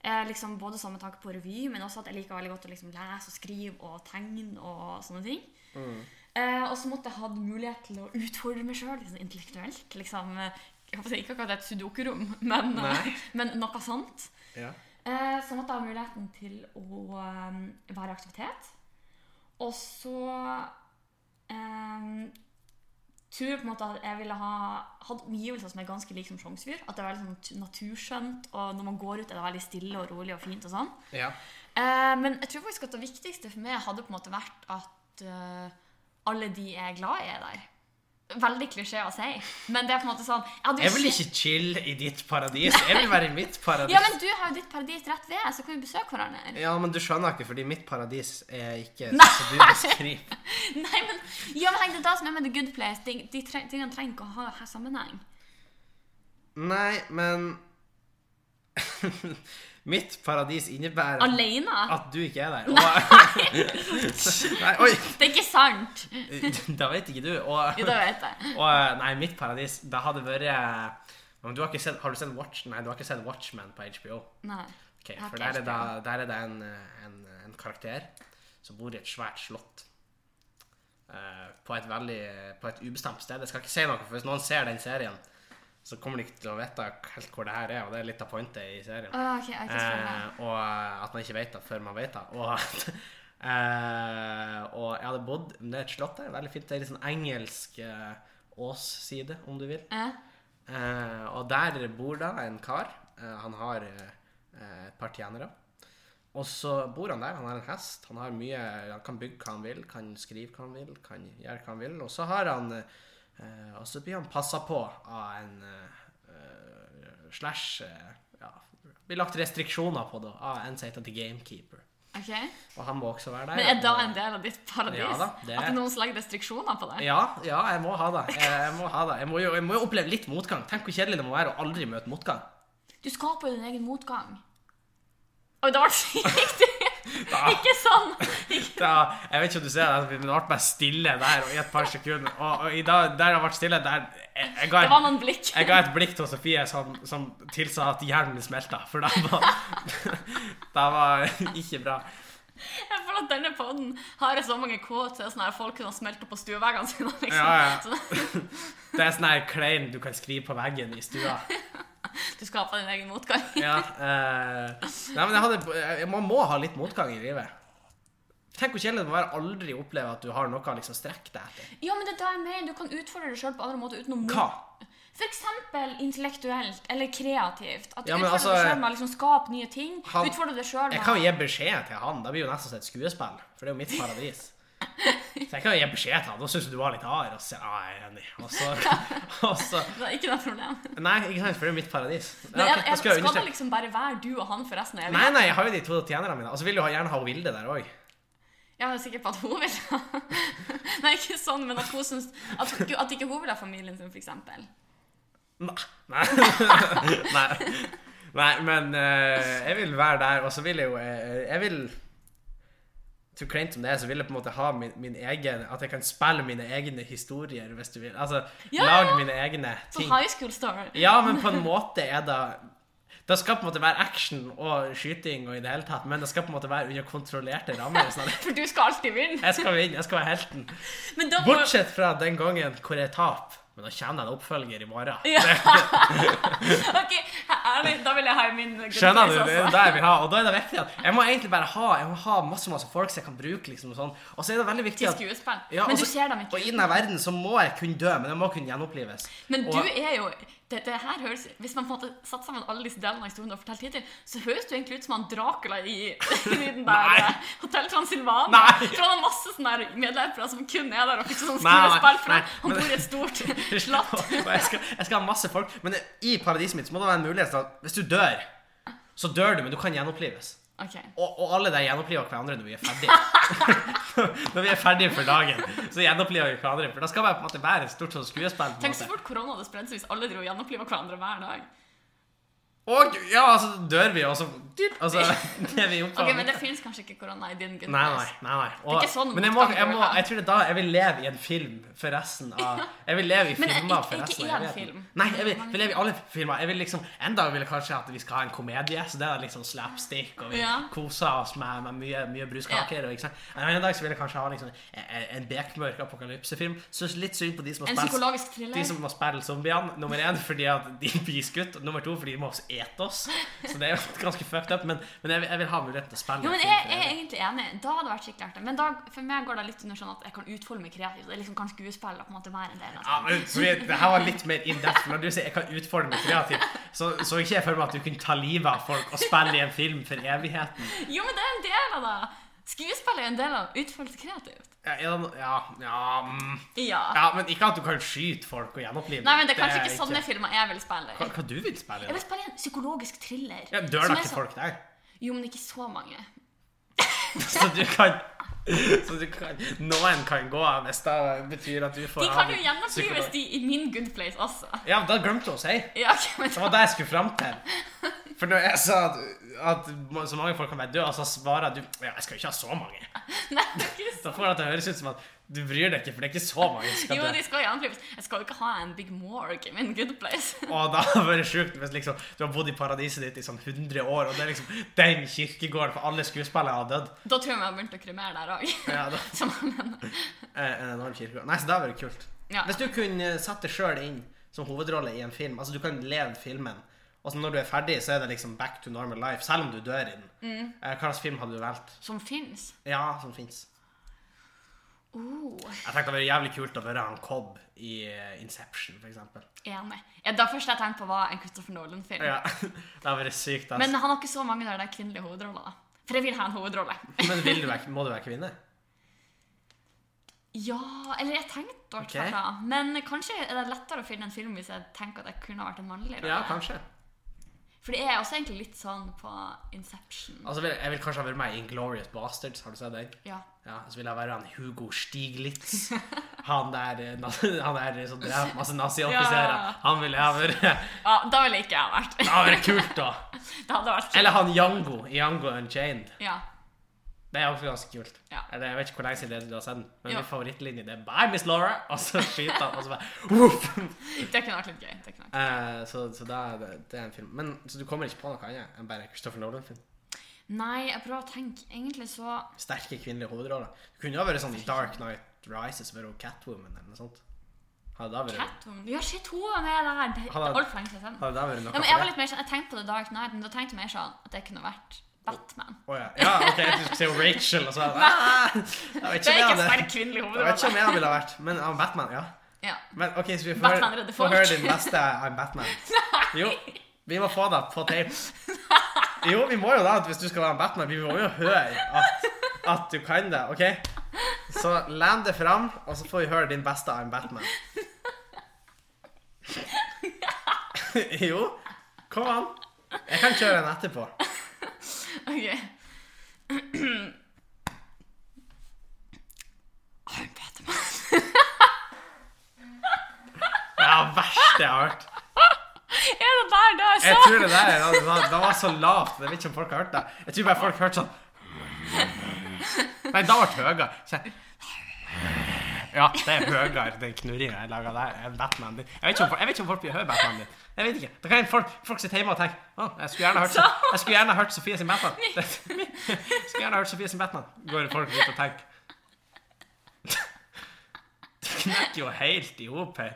Speaker 2: Eh, liksom Både sånn med tanke på revy, men også at jeg liker veldig godt å liksom lese og skrive og tegne. og sånne ting.
Speaker 1: Mm.
Speaker 2: Eh, og så måtte jeg ha mulighet til å utfordre meg sjøl liksom, intellektuelt. liksom, eh, jeg håper Ikke akkurat et sudoku-rom, men, eh,
Speaker 1: Nei.
Speaker 2: men noe sånt.
Speaker 1: Ja.
Speaker 2: Eh, så måtte jeg ha muligheten til å eh, være i aktivitet. Og så eh, tror jeg på en måte at jeg ville ha hatt omgivelser som er ganske like som Sjongsfjord. At det er veldig sånn tu- naturskjønt, og når man går ut, er det veldig stille og rolig og fint. og sånn.
Speaker 1: ja.
Speaker 2: Eh, men jeg tror faktisk at det viktigste for meg hadde på en måte vært at eh, alle de jeg er glad i, er der. Veldig klisjé å si, men det er på en måte sånn Jeg, hadde jo
Speaker 1: Jeg vil
Speaker 2: ikke-
Speaker 1: ikke chill i ditt paradis. Jeg vil være i mitt paradis.
Speaker 2: Ja, men du har jo ditt paradis rett ved, så kan vi besøke hverandre.
Speaker 1: Ja, men du skjønner ikke, fordi mitt paradis er ikke
Speaker 2: Nei.
Speaker 1: som du beskriver.
Speaker 2: Nei, men, ja, men tenk, det er det som er med The Good Place. De, de, tre, tingene trenger ikke å ha her sammenheng.
Speaker 1: Nei, men Mitt paradis innebærer
Speaker 2: Alene.
Speaker 1: at du ikke er der. Og... Nei, oi!
Speaker 2: Det er ikke sant!
Speaker 1: Da vet ikke du. Og,
Speaker 2: Jo, det vet jeg.
Speaker 1: og eh, Nei, mitt paradis, det hadde vært eh, men du har, ikke sett, har du sett Watch... Nei, du har ikke sett Watchmen på HBO?
Speaker 2: Nei.
Speaker 1: Ok,
Speaker 2: Jeg har
Speaker 1: for
Speaker 2: ikke
Speaker 1: der er, det,
Speaker 2: HBO.
Speaker 1: der er det en, eh, en, en karakter som bor i et svært slott. eh, på et veldig På et ubestemt sted. Jeg skal ikke si noe, for hvis noen ser den serien, så kommer de ikke til å vite helt hvor det her er, og det er litt av pointet i serien.
Speaker 2: Å, ok, jeg har ikke spørt
Speaker 1: Eh, og at man ikke vet det før man vet det. Og, at, eh, og jeg hadde bodd Det er et slott der. Veldig fint. Det er litt sånn engelsk eh, åsside, om du vil.
Speaker 2: Eh?
Speaker 1: Eh, og der bor da en kar. Eh, han har eh, eh, et par tjenere. Og så bor han der. Han har en hest. Han har mye Han kan bygge hva han vil, kan skrive hva han vil, kan gjøre hva han vil. Og så har han eh, Og så blir han passa på av en eh, eh, slash eh, ja, blir lagt restriksjoner på det av en som heter The Gamekeeper.
Speaker 2: Ok.
Speaker 1: Og han må også være der.
Speaker 2: Men er da
Speaker 1: og-
Speaker 2: en del av ditt paradis?
Speaker 1: Ja da, det er-
Speaker 2: At noen legger restriksjoner på det?
Speaker 1: ja, ja, jeg må ha det. Jeg, jeg må ha det. Jeg må jo jeg må jo oppleve litt motgang. Tenk hvor kjedelig det må være å aldri møte motgang.
Speaker 2: Du skaper jo din egen motgang. Oi, det ble ikke riktig! Ikke sånn! Ikke.
Speaker 1: ja, jeg vet ikke om du ser det, altså, men det ble bare stille der og i et par sekunder. Og, og i dag, der det ble stille, der jeg, jeg, ga
Speaker 2: Det var
Speaker 1: et,
Speaker 2: noen blikk.
Speaker 1: jeg ga et blikk til Sofie som, som tilsa at hjernen min smelta, for det var, det var ikke bra.
Speaker 2: Jeg føler at denne podden har så mange quotes til sånn her folk kunne smelte på stueveggene sine. Liksom.
Speaker 1: Ja, ja.
Speaker 2: Sånn,
Speaker 1: Det er sånn her klein du kan skrive på veggen i stua.
Speaker 2: du skaper din egen motgang.
Speaker 1: Ja, eh, nei, men jeg hadde, jeg- man må ha litt motgang i livet. Tenk hvor kjedelig det må være å aldri oppleve at du har noe å liksom strekke deg etter.
Speaker 2: Ja, men det er da jeg mener. Du kan utfordre deg sjøl på andre måter uten å
Speaker 1: Hva?
Speaker 2: For eksempel intellektuelt eller kreativt. At du
Speaker 1: Ja, men
Speaker 2: utfordrer
Speaker 1: altså,
Speaker 2: deg sjøl med å liksom skape nye ting.
Speaker 1: han-
Speaker 2: utfordrer deg sjøl
Speaker 1: Jeg
Speaker 2: med
Speaker 1: kan jo gi beskjed til han. Det blir jo nesten som et skuespill. For det er jo mitt paradis. Så jeg kan jo gi beskjed til han. Da syns du du var litt hard. Og så sier han, ja, jeg er enig. Og så, og så
Speaker 2: Det er ikke noe problem.
Speaker 1: Nei, ikke sant, for det er mitt paradis. Ja,
Speaker 2: Men
Speaker 1: ok,
Speaker 2: jeg,
Speaker 1: da
Speaker 2: jeg,
Speaker 1: skal jeg
Speaker 2: skal det
Speaker 1: understreke-
Speaker 2: liksom bare være du og han for resten av
Speaker 1: Nei,
Speaker 2: livet?
Speaker 1: nei, jeg har jo de to tjenerne mine. Og så vil du ha- gjerne ha Vilde der òg.
Speaker 2: Jeg er sikker på at hun vil ha Nei, ikke sånn, men at hun syns at, at ikke hun vil ha familien sin, f.eks.
Speaker 1: Nei. Nei. nei. Nei, men eh, jeg vil være der, og så vil jeg jo eh, Jeg vil Så kleint som det er, så vil jeg på en måte ha min, min egen At jeg kan spille mine egne historier, hvis du vil. Altså
Speaker 2: Ja,
Speaker 1: lage
Speaker 2: ja.
Speaker 1: mine egne
Speaker 2: Som
Speaker 1: ting.
Speaker 2: high school story.
Speaker 1: Ja, men på en måte er det Det skal på en måte være action og skyting og i det hele tatt, men det skal på en måte være under kontrollerte rammer. Sånn. at
Speaker 2: For du skal alltid vinne.
Speaker 1: Jeg skal vinne, jeg skal være helten.
Speaker 2: Men da må
Speaker 1: Bortsett fra den gangen hvor jeg taper. Men da kommer det en oppfølger i morgen.
Speaker 2: Ja. Ok, ærlig, da vil jeg ha i min good
Speaker 1: Skjønner du?
Speaker 2: place,
Speaker 1: Det er
Speaker 2: altså.
Speaker 1: der vi har, og da er det viktig at jeg må egentlig bare ha, jeg må ha masse masse folk som jeg kan bruke. liksom og sånn. Og så er det veldig viktig
Speaker 2: Til
Speaker 1: at
Speaker 2: skuespill.
Speaker 1: Ja,
Speaker 2: men
Speaker 1: og
Speaker 2: du
Speaker 1: så-
Speaker 2: ser dem ikke.
Speaker 1: Og i denne verden så må jeg kunne dø, men jeg må kunne gjenopplives.
Speaker 2: Men
Speaker 1: Og-
Speaker 2: du er jo det, det her høres, Hvis man på en måte satte sammen alle disse delene av historien, og fortalt hittil, så høres du egentlig ut som han Dracula i, i den der
Speaker 1: Nei.
Speaker 2: eh, Hotel Transylvania.
Speaker 1: Nei.
Speaker 2: For han har masse sånne der medløpere som kun er der og ikke sånn
Speaker 1: Nei, nei,
Speaker 2: skuespill fra.
Speaker 1: nei,
Speaker 2: Han
Speaker 1: men-
Speaker 2: bor i et stort slott.
Speaker 1: Og jeg, skal, jeg skal ha masse folk. Men i paradiset mitt så må det være en mulighet til at hvis du dør, så dør du, men du kan gjenopplives.
Speaker 2: Ok.
Speaker 1: Og, og alle der gjenoppliver hverandre når vi er ferdige. når vi er ferdige for dagen, så gjenoppliver vi hverandre. For da skal man på en måte være et stort sånn skuespill. på en
Speaker 2: Tenk så
Speaker 1: måte.
Speaker 2: fort korona hadde spredd seg hvis alle dro og gjenoppliva hverandre hver dag.
Speaker 1: Og ja, altså dør vi, og så Altså, det er vi
Speaker 2: Ok,
Speaker 1: opptatt av.
Speaker 2: Men det fins kanskje ikke korona i din good
Speaker 1: Nei, nei.
Speaker 2: place.
Speaker 1: nei, nei.
Speaker 2: er ikke sånn
Speaker 1: men jeg, må,
Speaker 2: motgang
Speaker 1: jeg,
Speaker 2: du
Speaker 1: må,
Speaker 2: vil ha.
Speaker 1: jeg tror det er da jeg vil leve i en film for resten av Jeg vil leve i
Speaker 2: Men
Speaker 1: filmer
Speaker 2: ikke-
Speaker 1: for
Speaker 2: ikke
Speaker 1: resten
Speaker 2: én
Speaker 1: av evigheten.
Speaker 2: film.
Speaker 1: Nei, jeg vil, vil leve i alle filmer. Jeg vil liksom, En dag vil jeg kanskje at vi skal ha en komedie, så det er liksom slapstick, og vi
Speaker 2: Ja.
Speaker 1: koser oss med, med mye, mye bruskaker. og ikke sant? En annen dag så vil jeg kanskje ha liksom en- en bekmørk apokalypsefilm. Syns litt synd på de som har
Speaker 2: En
Speaker 1: spilt
Speaker 2: psykologisk thriller.
Speaker 1: de som må spille zombiene. Nummer én fordi at de blir skutt. og Nummer to fordi de må ete oss. Så det er jo ganske fucked up. Men, men jeg, vil- jeg vil ha muligheten til å spille.
Speaker 2: Jo, men
Speaker 1: en film
Speaker 2: jeg,
Speaker 1: for
Speaker 2: jeg er
Speaker 1: evig.
Speaker 2: egentlig enig. Da hadde det vært skikkelig artig. Men da, for meg går det litt under sånn at jeg kan utfolde meg kreativt. Jeg liksom kan skuespille og på en måte være en del av det.
Speaker 1: Ja, men fordi Det her var litt mer in depth. for Når du sier jeg kan utfordre meg kreativt, så, så ikke jeg for meg at du kunne ta livet av folk og spille i en film for evigheten.
Speaker 2: Jo, men det er en del av det! Skuespill er jo en del av utfoldelse kreativt.
Speaker 1: Ja, ja, ja, ja, mm.
Speaker 2: Ja.
Speaker 1: ja, men ikke at du kan skyte folk og gjenopplive dem.
Speaker 2: Nei, men det er kanskje ikke sånn sånne filmer jeg vil spille.
Speaker 1: Hva,
Speaker 2: i.
Speaker 1: hva du vil spille?
Speaker 2: Jeg
Speaker 1: i,
Speaker 2: vil spille i en psykologisk thriller.
Speaker 1: da? Ja, dør
Speaker 2: som
Speaker 1: da
Speaker 2: er
Speaker 1: ikke
Speaker 2: sånn-
Speaker 1: folk der?
Speaker 2: Jo, men ikke så mange.
Speaker 1: Så du kan så du kan, Noen kan gå av hvis det betyr at du får
Speaker 2: De
Speaker 1: ha
Speaker 2: kan jo
Speaker 1: litt
Speaker 2: gjenopplives,
Speaker 1: psykolog.
Speaker 2: de, i min good place også.
Speaker 1: Ja, da glemte du å si.
Speaker 2: Ja, ok, men
Speaker 1: Det var det jeg skulle fram til. For når jeg sa at, at så mange folk kan være døde, så svarer du ja, jeg skal jo ikke ha så mange.
Speaker 2: Nei, det er ikke så
Speaker 1: Da får det til å høres ut som at du bryr deg ikke, for det er ikke så mange som skal
Speaker 2: Jo,
Speaker 1: dø.
Speaker 2: de skal gjenopplives. Jeg skal jo ikke ha en Big Morgue i min good place.
Speaker 1: Og da hadde det vært sjukt hvis liksom, du har bodd i paradiset ditt i sånn 100 år, og det er liksom den kirkegården for alle skuespillere har dødd.
Speaker 2: Da tror jeg vi har begynt å kremere der òg.
Speaker 1: Ja, da,
Speaker 2: Som han mener.
Speaker 1: eh, en enorm kirkegård. Nei, så det hadde vært kult.
Speaker 2: Ja.
Speaker 1: Hvis du kunne satt deg sjøl inn som hovedrolle i en film, altså du kan leve filmen, og så når du er ferdig, så er det liksom back to normal life, selv om du dør i den. Eh, Hva slags film hadde du valgt?
Speaker 2: Som fins.
Speaker 1: Ja, som fins.
Speaker 2: Oh,
Speaker 1: Jeg tenkte det var jævlig kult å være han Cobb i eh, Inception, for eksempel.
Speaker 2: enig. Ja, det første jeg tenkte på, var en Christopher Nolan-film.
Speaker 1: Ja, det hadde vært sykt. Altså.
Speaker 2: Men han har ikke så mange der det er kvinnelige hovedroller. da. For jeg vil ha en hovedrolle.
Speaker 1: Men vil du være, må du være kvinne?
Speaker 2: Ja, eller jeg tenkte hvert fall
Speaker 1: Ok.
Speaker 2: da. Men kanskje er det lettere å finne en film hvis jeg tenker at jeg kunne ha vært en mannlig rolle.
Speaker 1: Ja, kanskje.
Speaker 2: For det er også egentlig litt sånn på Inception.
Speaker 1: Altså, vil- jeg vil kanskje ha vært med i Inglorious Bastards. Har du sett den?
Speaker 2: Ja.
Speaker 1: Ja, Så vil jeg være han Hugo Stiglitz. Han der, eh, na- han der som drev masse
Speaker 2: Ja.
Speaker 1: nazioffiserer. Han vil jeg ha vært Det
Speaker 2: ja, da ville ikke jeg ha vært.
Speaker 1: hadde vært kult, da!
Speaker 2: Det hadde vært
Speaker 1: Eller han Jango i Jango Unchained.
Speaker 2: Ja.
Speaker 1: Det er også ganske kult.
Speaker 2: Ja.
Speaker 1: Eller, jeg vet ikke hvor lenge siden du har sett den, men
Speaker 2: Jo.
Speaker 1: min favorittlinje det er 'Bye, Miss Laura', og så skyter han, og så bare Woof!
Speaker 2: Det kunne vært litt gøy. Det kunne vært.
Speaker 1: Eh, så så da er det, det er en film. Men Så du kommer ikke på noe annet enn bare Christopher Nolan-film?
Speaker 2: Nei, jeg prøver å tenke. Egentlig så
Speaker 1: sterke kvinnelige hovedroller. Det kunne jo ha vært sånn i Dark Knight Rises være hun Catwoman eller noe sånt. Hadde det vært,
Speaker 2: Catwoman Ja, shit, hun er med der! Det
Speaker 1: Han er-
Speaker 2: er altfor lenge siden jeg har sett den.
Speaker 1: hadde det vært noe
Speaker 2: Ja, men jeg var
Speaker 1: for det?
Speaker 2: litt mer sånn, jeg tenkte på The Dark Knight, men da tenkte jeg mer sånn at det kunne vært Batman.
Speaker 1: Å ja. ja, ok, du skulle se Rachel og så Ah! Jeg vet
Speaker 2: Det
Speaker 1: ikke
Speaker 2: er
Speaker 1: om jeg
Speaker 2: ikke en
Speaker 1: hadde-
Speaker 2: sterk kvinnelig
Speaker 1: jeg vet ikke om
Speaker 2: hovedrolle.
Speaker 1: jeg ville ha vært Men ja, Batman, ja.
Speaker 2: Ja.
Speaker 1: Men ok, så vi får
Speaker 2: Batman
Speaker 1: høre,
Speaker 2: redder
Speaker 1: får
Speaker 2: folk.
Speaker 1: høre din neste I'm Batman. Jo, vi må få det på tape. Jo, vi må jo da, hvis du skal være en Batman, vi må jo høre at, at du kan det, ok? Så land det fram, og så får vi høre din beste I'm Batman. Jo, kom an. Jeg kan kjøre en etterpå.
Speaker 2: Ok. I'm Batman.
Speaker 1: Det er det verste jeg har hørt.
Speaker 2: Er det der det jeg
Speaker 1: Jeg
Speaker 2: sa?
Speaker 1: tror det der det var, det var så lavt. Jeg vet ikke om folk har hørt det. Jeg tror bare folk hørte sånn Nei, da ble det høyere. Så jeg- Ja, det er høyere, den knurringa jeg laga der, enn Batman din. Jeg vet ikke om, folk- jeg vet ikke om folk vil høre Batman din. Jeg vet ikke. Da kan folk, folk sitte hjemme og tenke Å, jeg skulle gjerne hørt, jeg skulle gjerne hørt Sofie sin Batman. Jeg skulle gjerne hørt Sofie sin Batman, går folk ut og tenker. Det knekker jo helt i hop her.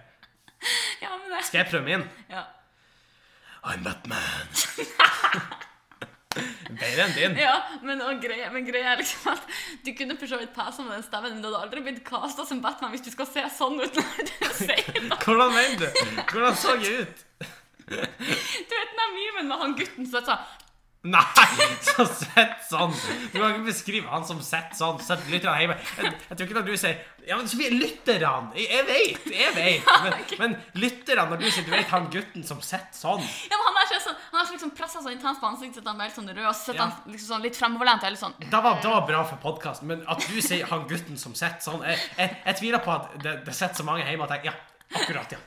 Speaker 1: Skal jeg prøve min?
Speaker 2: Ja.
Speaker 1: I'm Batman. Bedre enn din.
Speaker 2: ja men, og greia, men greia er liksom at du kunne for så vidt passa med den stemmen, men du hadde aldri blitt kasta som Batman hvis du skal se sånn ut når du sier det.
Speaker 1: Hvordan mener du? Hvordan så jeg ut?
Speaker 2: Du vet den der memen med han gutten som sånn- sa
Speaker 1: Nei, så sett sånn! Du kan ikke beskrive han som sett sånn. Sett lytterne hjemme. Jeg, jeg tror ikke når du sier Ja, men Sofie, lytterne! Jeg, jeg vet, jeg vet. Men, men lytterne, når du sier du vet han gutten som sett sånn
Speaker 2: ja, men Han er ikke sånn, han er ikke liksom pressa så intenst på ansiktet sitt, han er helt sånn rød, og så sitter
Speaker 1: Ja.
Speaker 2: han liksom sånn litt fremoverlent. Eller sånn.
Speaker 1: Det var, det var bra for podkasten, men at du sier 'han gutten som sett sånn' Jeg, jeg, jeg tviler på at det, det sitter så mange hjemme at jeg Ja, akkurat, ja.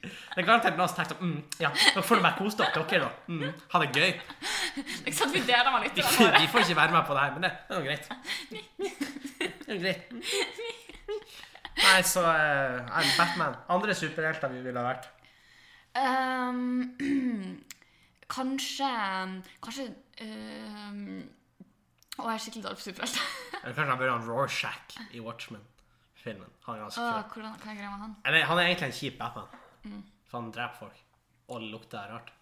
Speaker 1: Det er garantert noen som tenker sånn mm, Ja, da får du bare kose dere, dere, da. Mm, ha det gøy.
Speaker 2: Ikke sant, Vi deler meg litt. i den
Speaker 1: Vi får ikke være med på det her, men det, det er nå greit. Det er greit. Nei, så eh, I'm Batman. Andre superhelter vi ville ha vært.
Speaker 2: Ehm, kanskje Kanskje ehm, Å, jeg er skikkelig dårlig på superhelter.
Speaker 1: Eller kanskje han burde ha en Rorschach i Watchmen-filmen. Han er ganske
Speaker 2: Åh,
Speaker 1: kul.
Speaker 2: hvordan hva er greia med han?
Speaker 1: Eller han er egentlig en kjip Batman.
Speaker 2: Mm.
Speaker 1: For han dreper folk. Og lukter rart.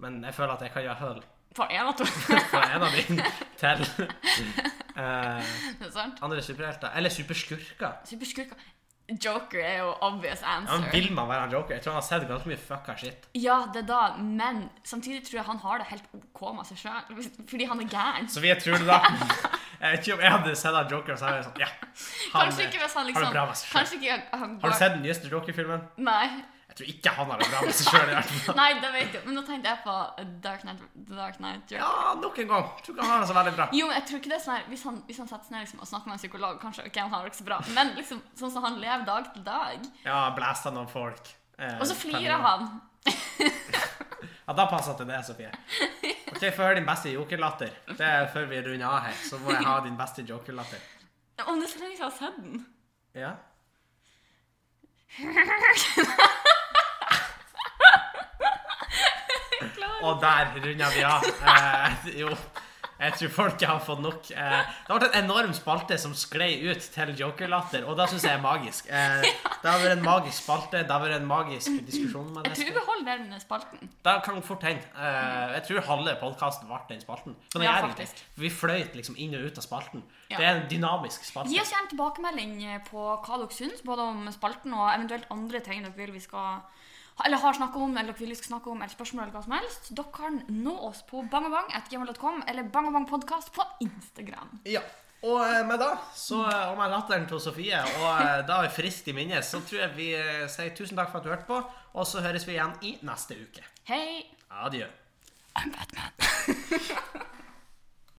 Speaker 1: Men jeg føler at jeg kan gjøre høl
Speaker 2: For én av to,
Speaker 1: fra en av mine til eh,
Speaker 2: ikke sant?
Speaker 1: andre superhelter. Eller superskurker.
Speaker 2: Superskurker. Joker er jo obvious
Speaker 1: Ja, men
Speaker 2: answer.
Speaker 1: vil man være en joker? Jeg tror han har sett ganske mye fucka shit.
Speaker 2: Ja, det er da, men samtidig tror jeg han har det helt OK med seg sjøl, fordi han er gæren.
Speaker 1: Så vi tror det da. Jeg vet ikke om jeg hadde sett han Joker, så hadde jeg sånn, ja. Han,
Speaker 2: Kanskje ikke hvis han
Speaker 1: har det
Speaker 2: liksom
Speaker 1: bra med seg selv.
Speaker 2: Kanskje ikke han
Speaker 1: Har
Speaker 2: går-
Speaker 1: du sett den nyeste Joker-filmen?
Speaker 2: Nei.
Speaker 1: Jeg tror ikke han har det bra med seg sjøl. i hvert fall.
Speaker 2: Nei, det vet jeg. Men nå tenkte jeg på Dark Knight, The Dark Knight Joker.
Speaker 1: Ja, nok en gang. Tror ikke han har det så veldig bra.
Speaker 2: Jo, men jeg tror ikke det er sånn her Hvis han, hvis han setter seg ned liksom, og snakker med en psykolog, kanskje ok, han har det ikke så bra, men liksom, sånn som han lever dag til dag,
Speaker 1: Ja, blæsta noen folk. eh,
Speaker 2: og så flirer
Speaker 1: terminer.
Speaker 2: han
Speaker 1: Ja, da passer til det, Sofie. Ok, Få høre din beste jokerlatter. Det er før vi runder av her, så må jeg ha din beste jokerlatter.
Speaker 2: Om det er så lenge siden jeg har sett den.
Speaker 1: Ja?
Speaker 2: Klar.
Speaker 1: Og der runder vi av. Eh, jo. Jeg tror folket har fått nok. Eh, det ble en enorm spalte som sklei ut til jokerlatter, og det syns jeg er magisk. Eh, det har vært en magisk spalte, det har vært en magisk diskusjon. med
Speaker 2: Jeg tror vi
Speaker 1: det.
Speaker 2: beholder den spalten.
Speaker 1: Det kan fort hende. Eh, jeg tror halve podkasten ble den spalten. Men det
Speaker 2: Ja,
Speaker 1: gjør ingenting.
Speaker 2: faktisk.
Speaker 1: Vi fløyt liksom inn og ut av spalten.
Speaker 2: Ja.
Speaker 1: Det er en dynamisk spalte.
Speaker 2: Gi oss gjerne tilbakemelding på hva dere syns, både om spalten og eventuelt andre ting dere vil vi skal eller har snakket om, eller dere vil vi skal snakke om, eller spørsmål eller hva som helst. Dere kan nå oss på bangabang.gmail.com eller bangabangpodkast på Instagram.
Speaker 1: Ja. Og eh, med da, så, eh, og med latteren til Sofie, og eh, da er frist i minnet, så tror jeg vi eh, sier tusen takk for at du hørte på, og så høres vi igjen i neste uke.
Speaker 2: Hei!
Speaker 1: Adjø.
Speaker 2: I'm Batman.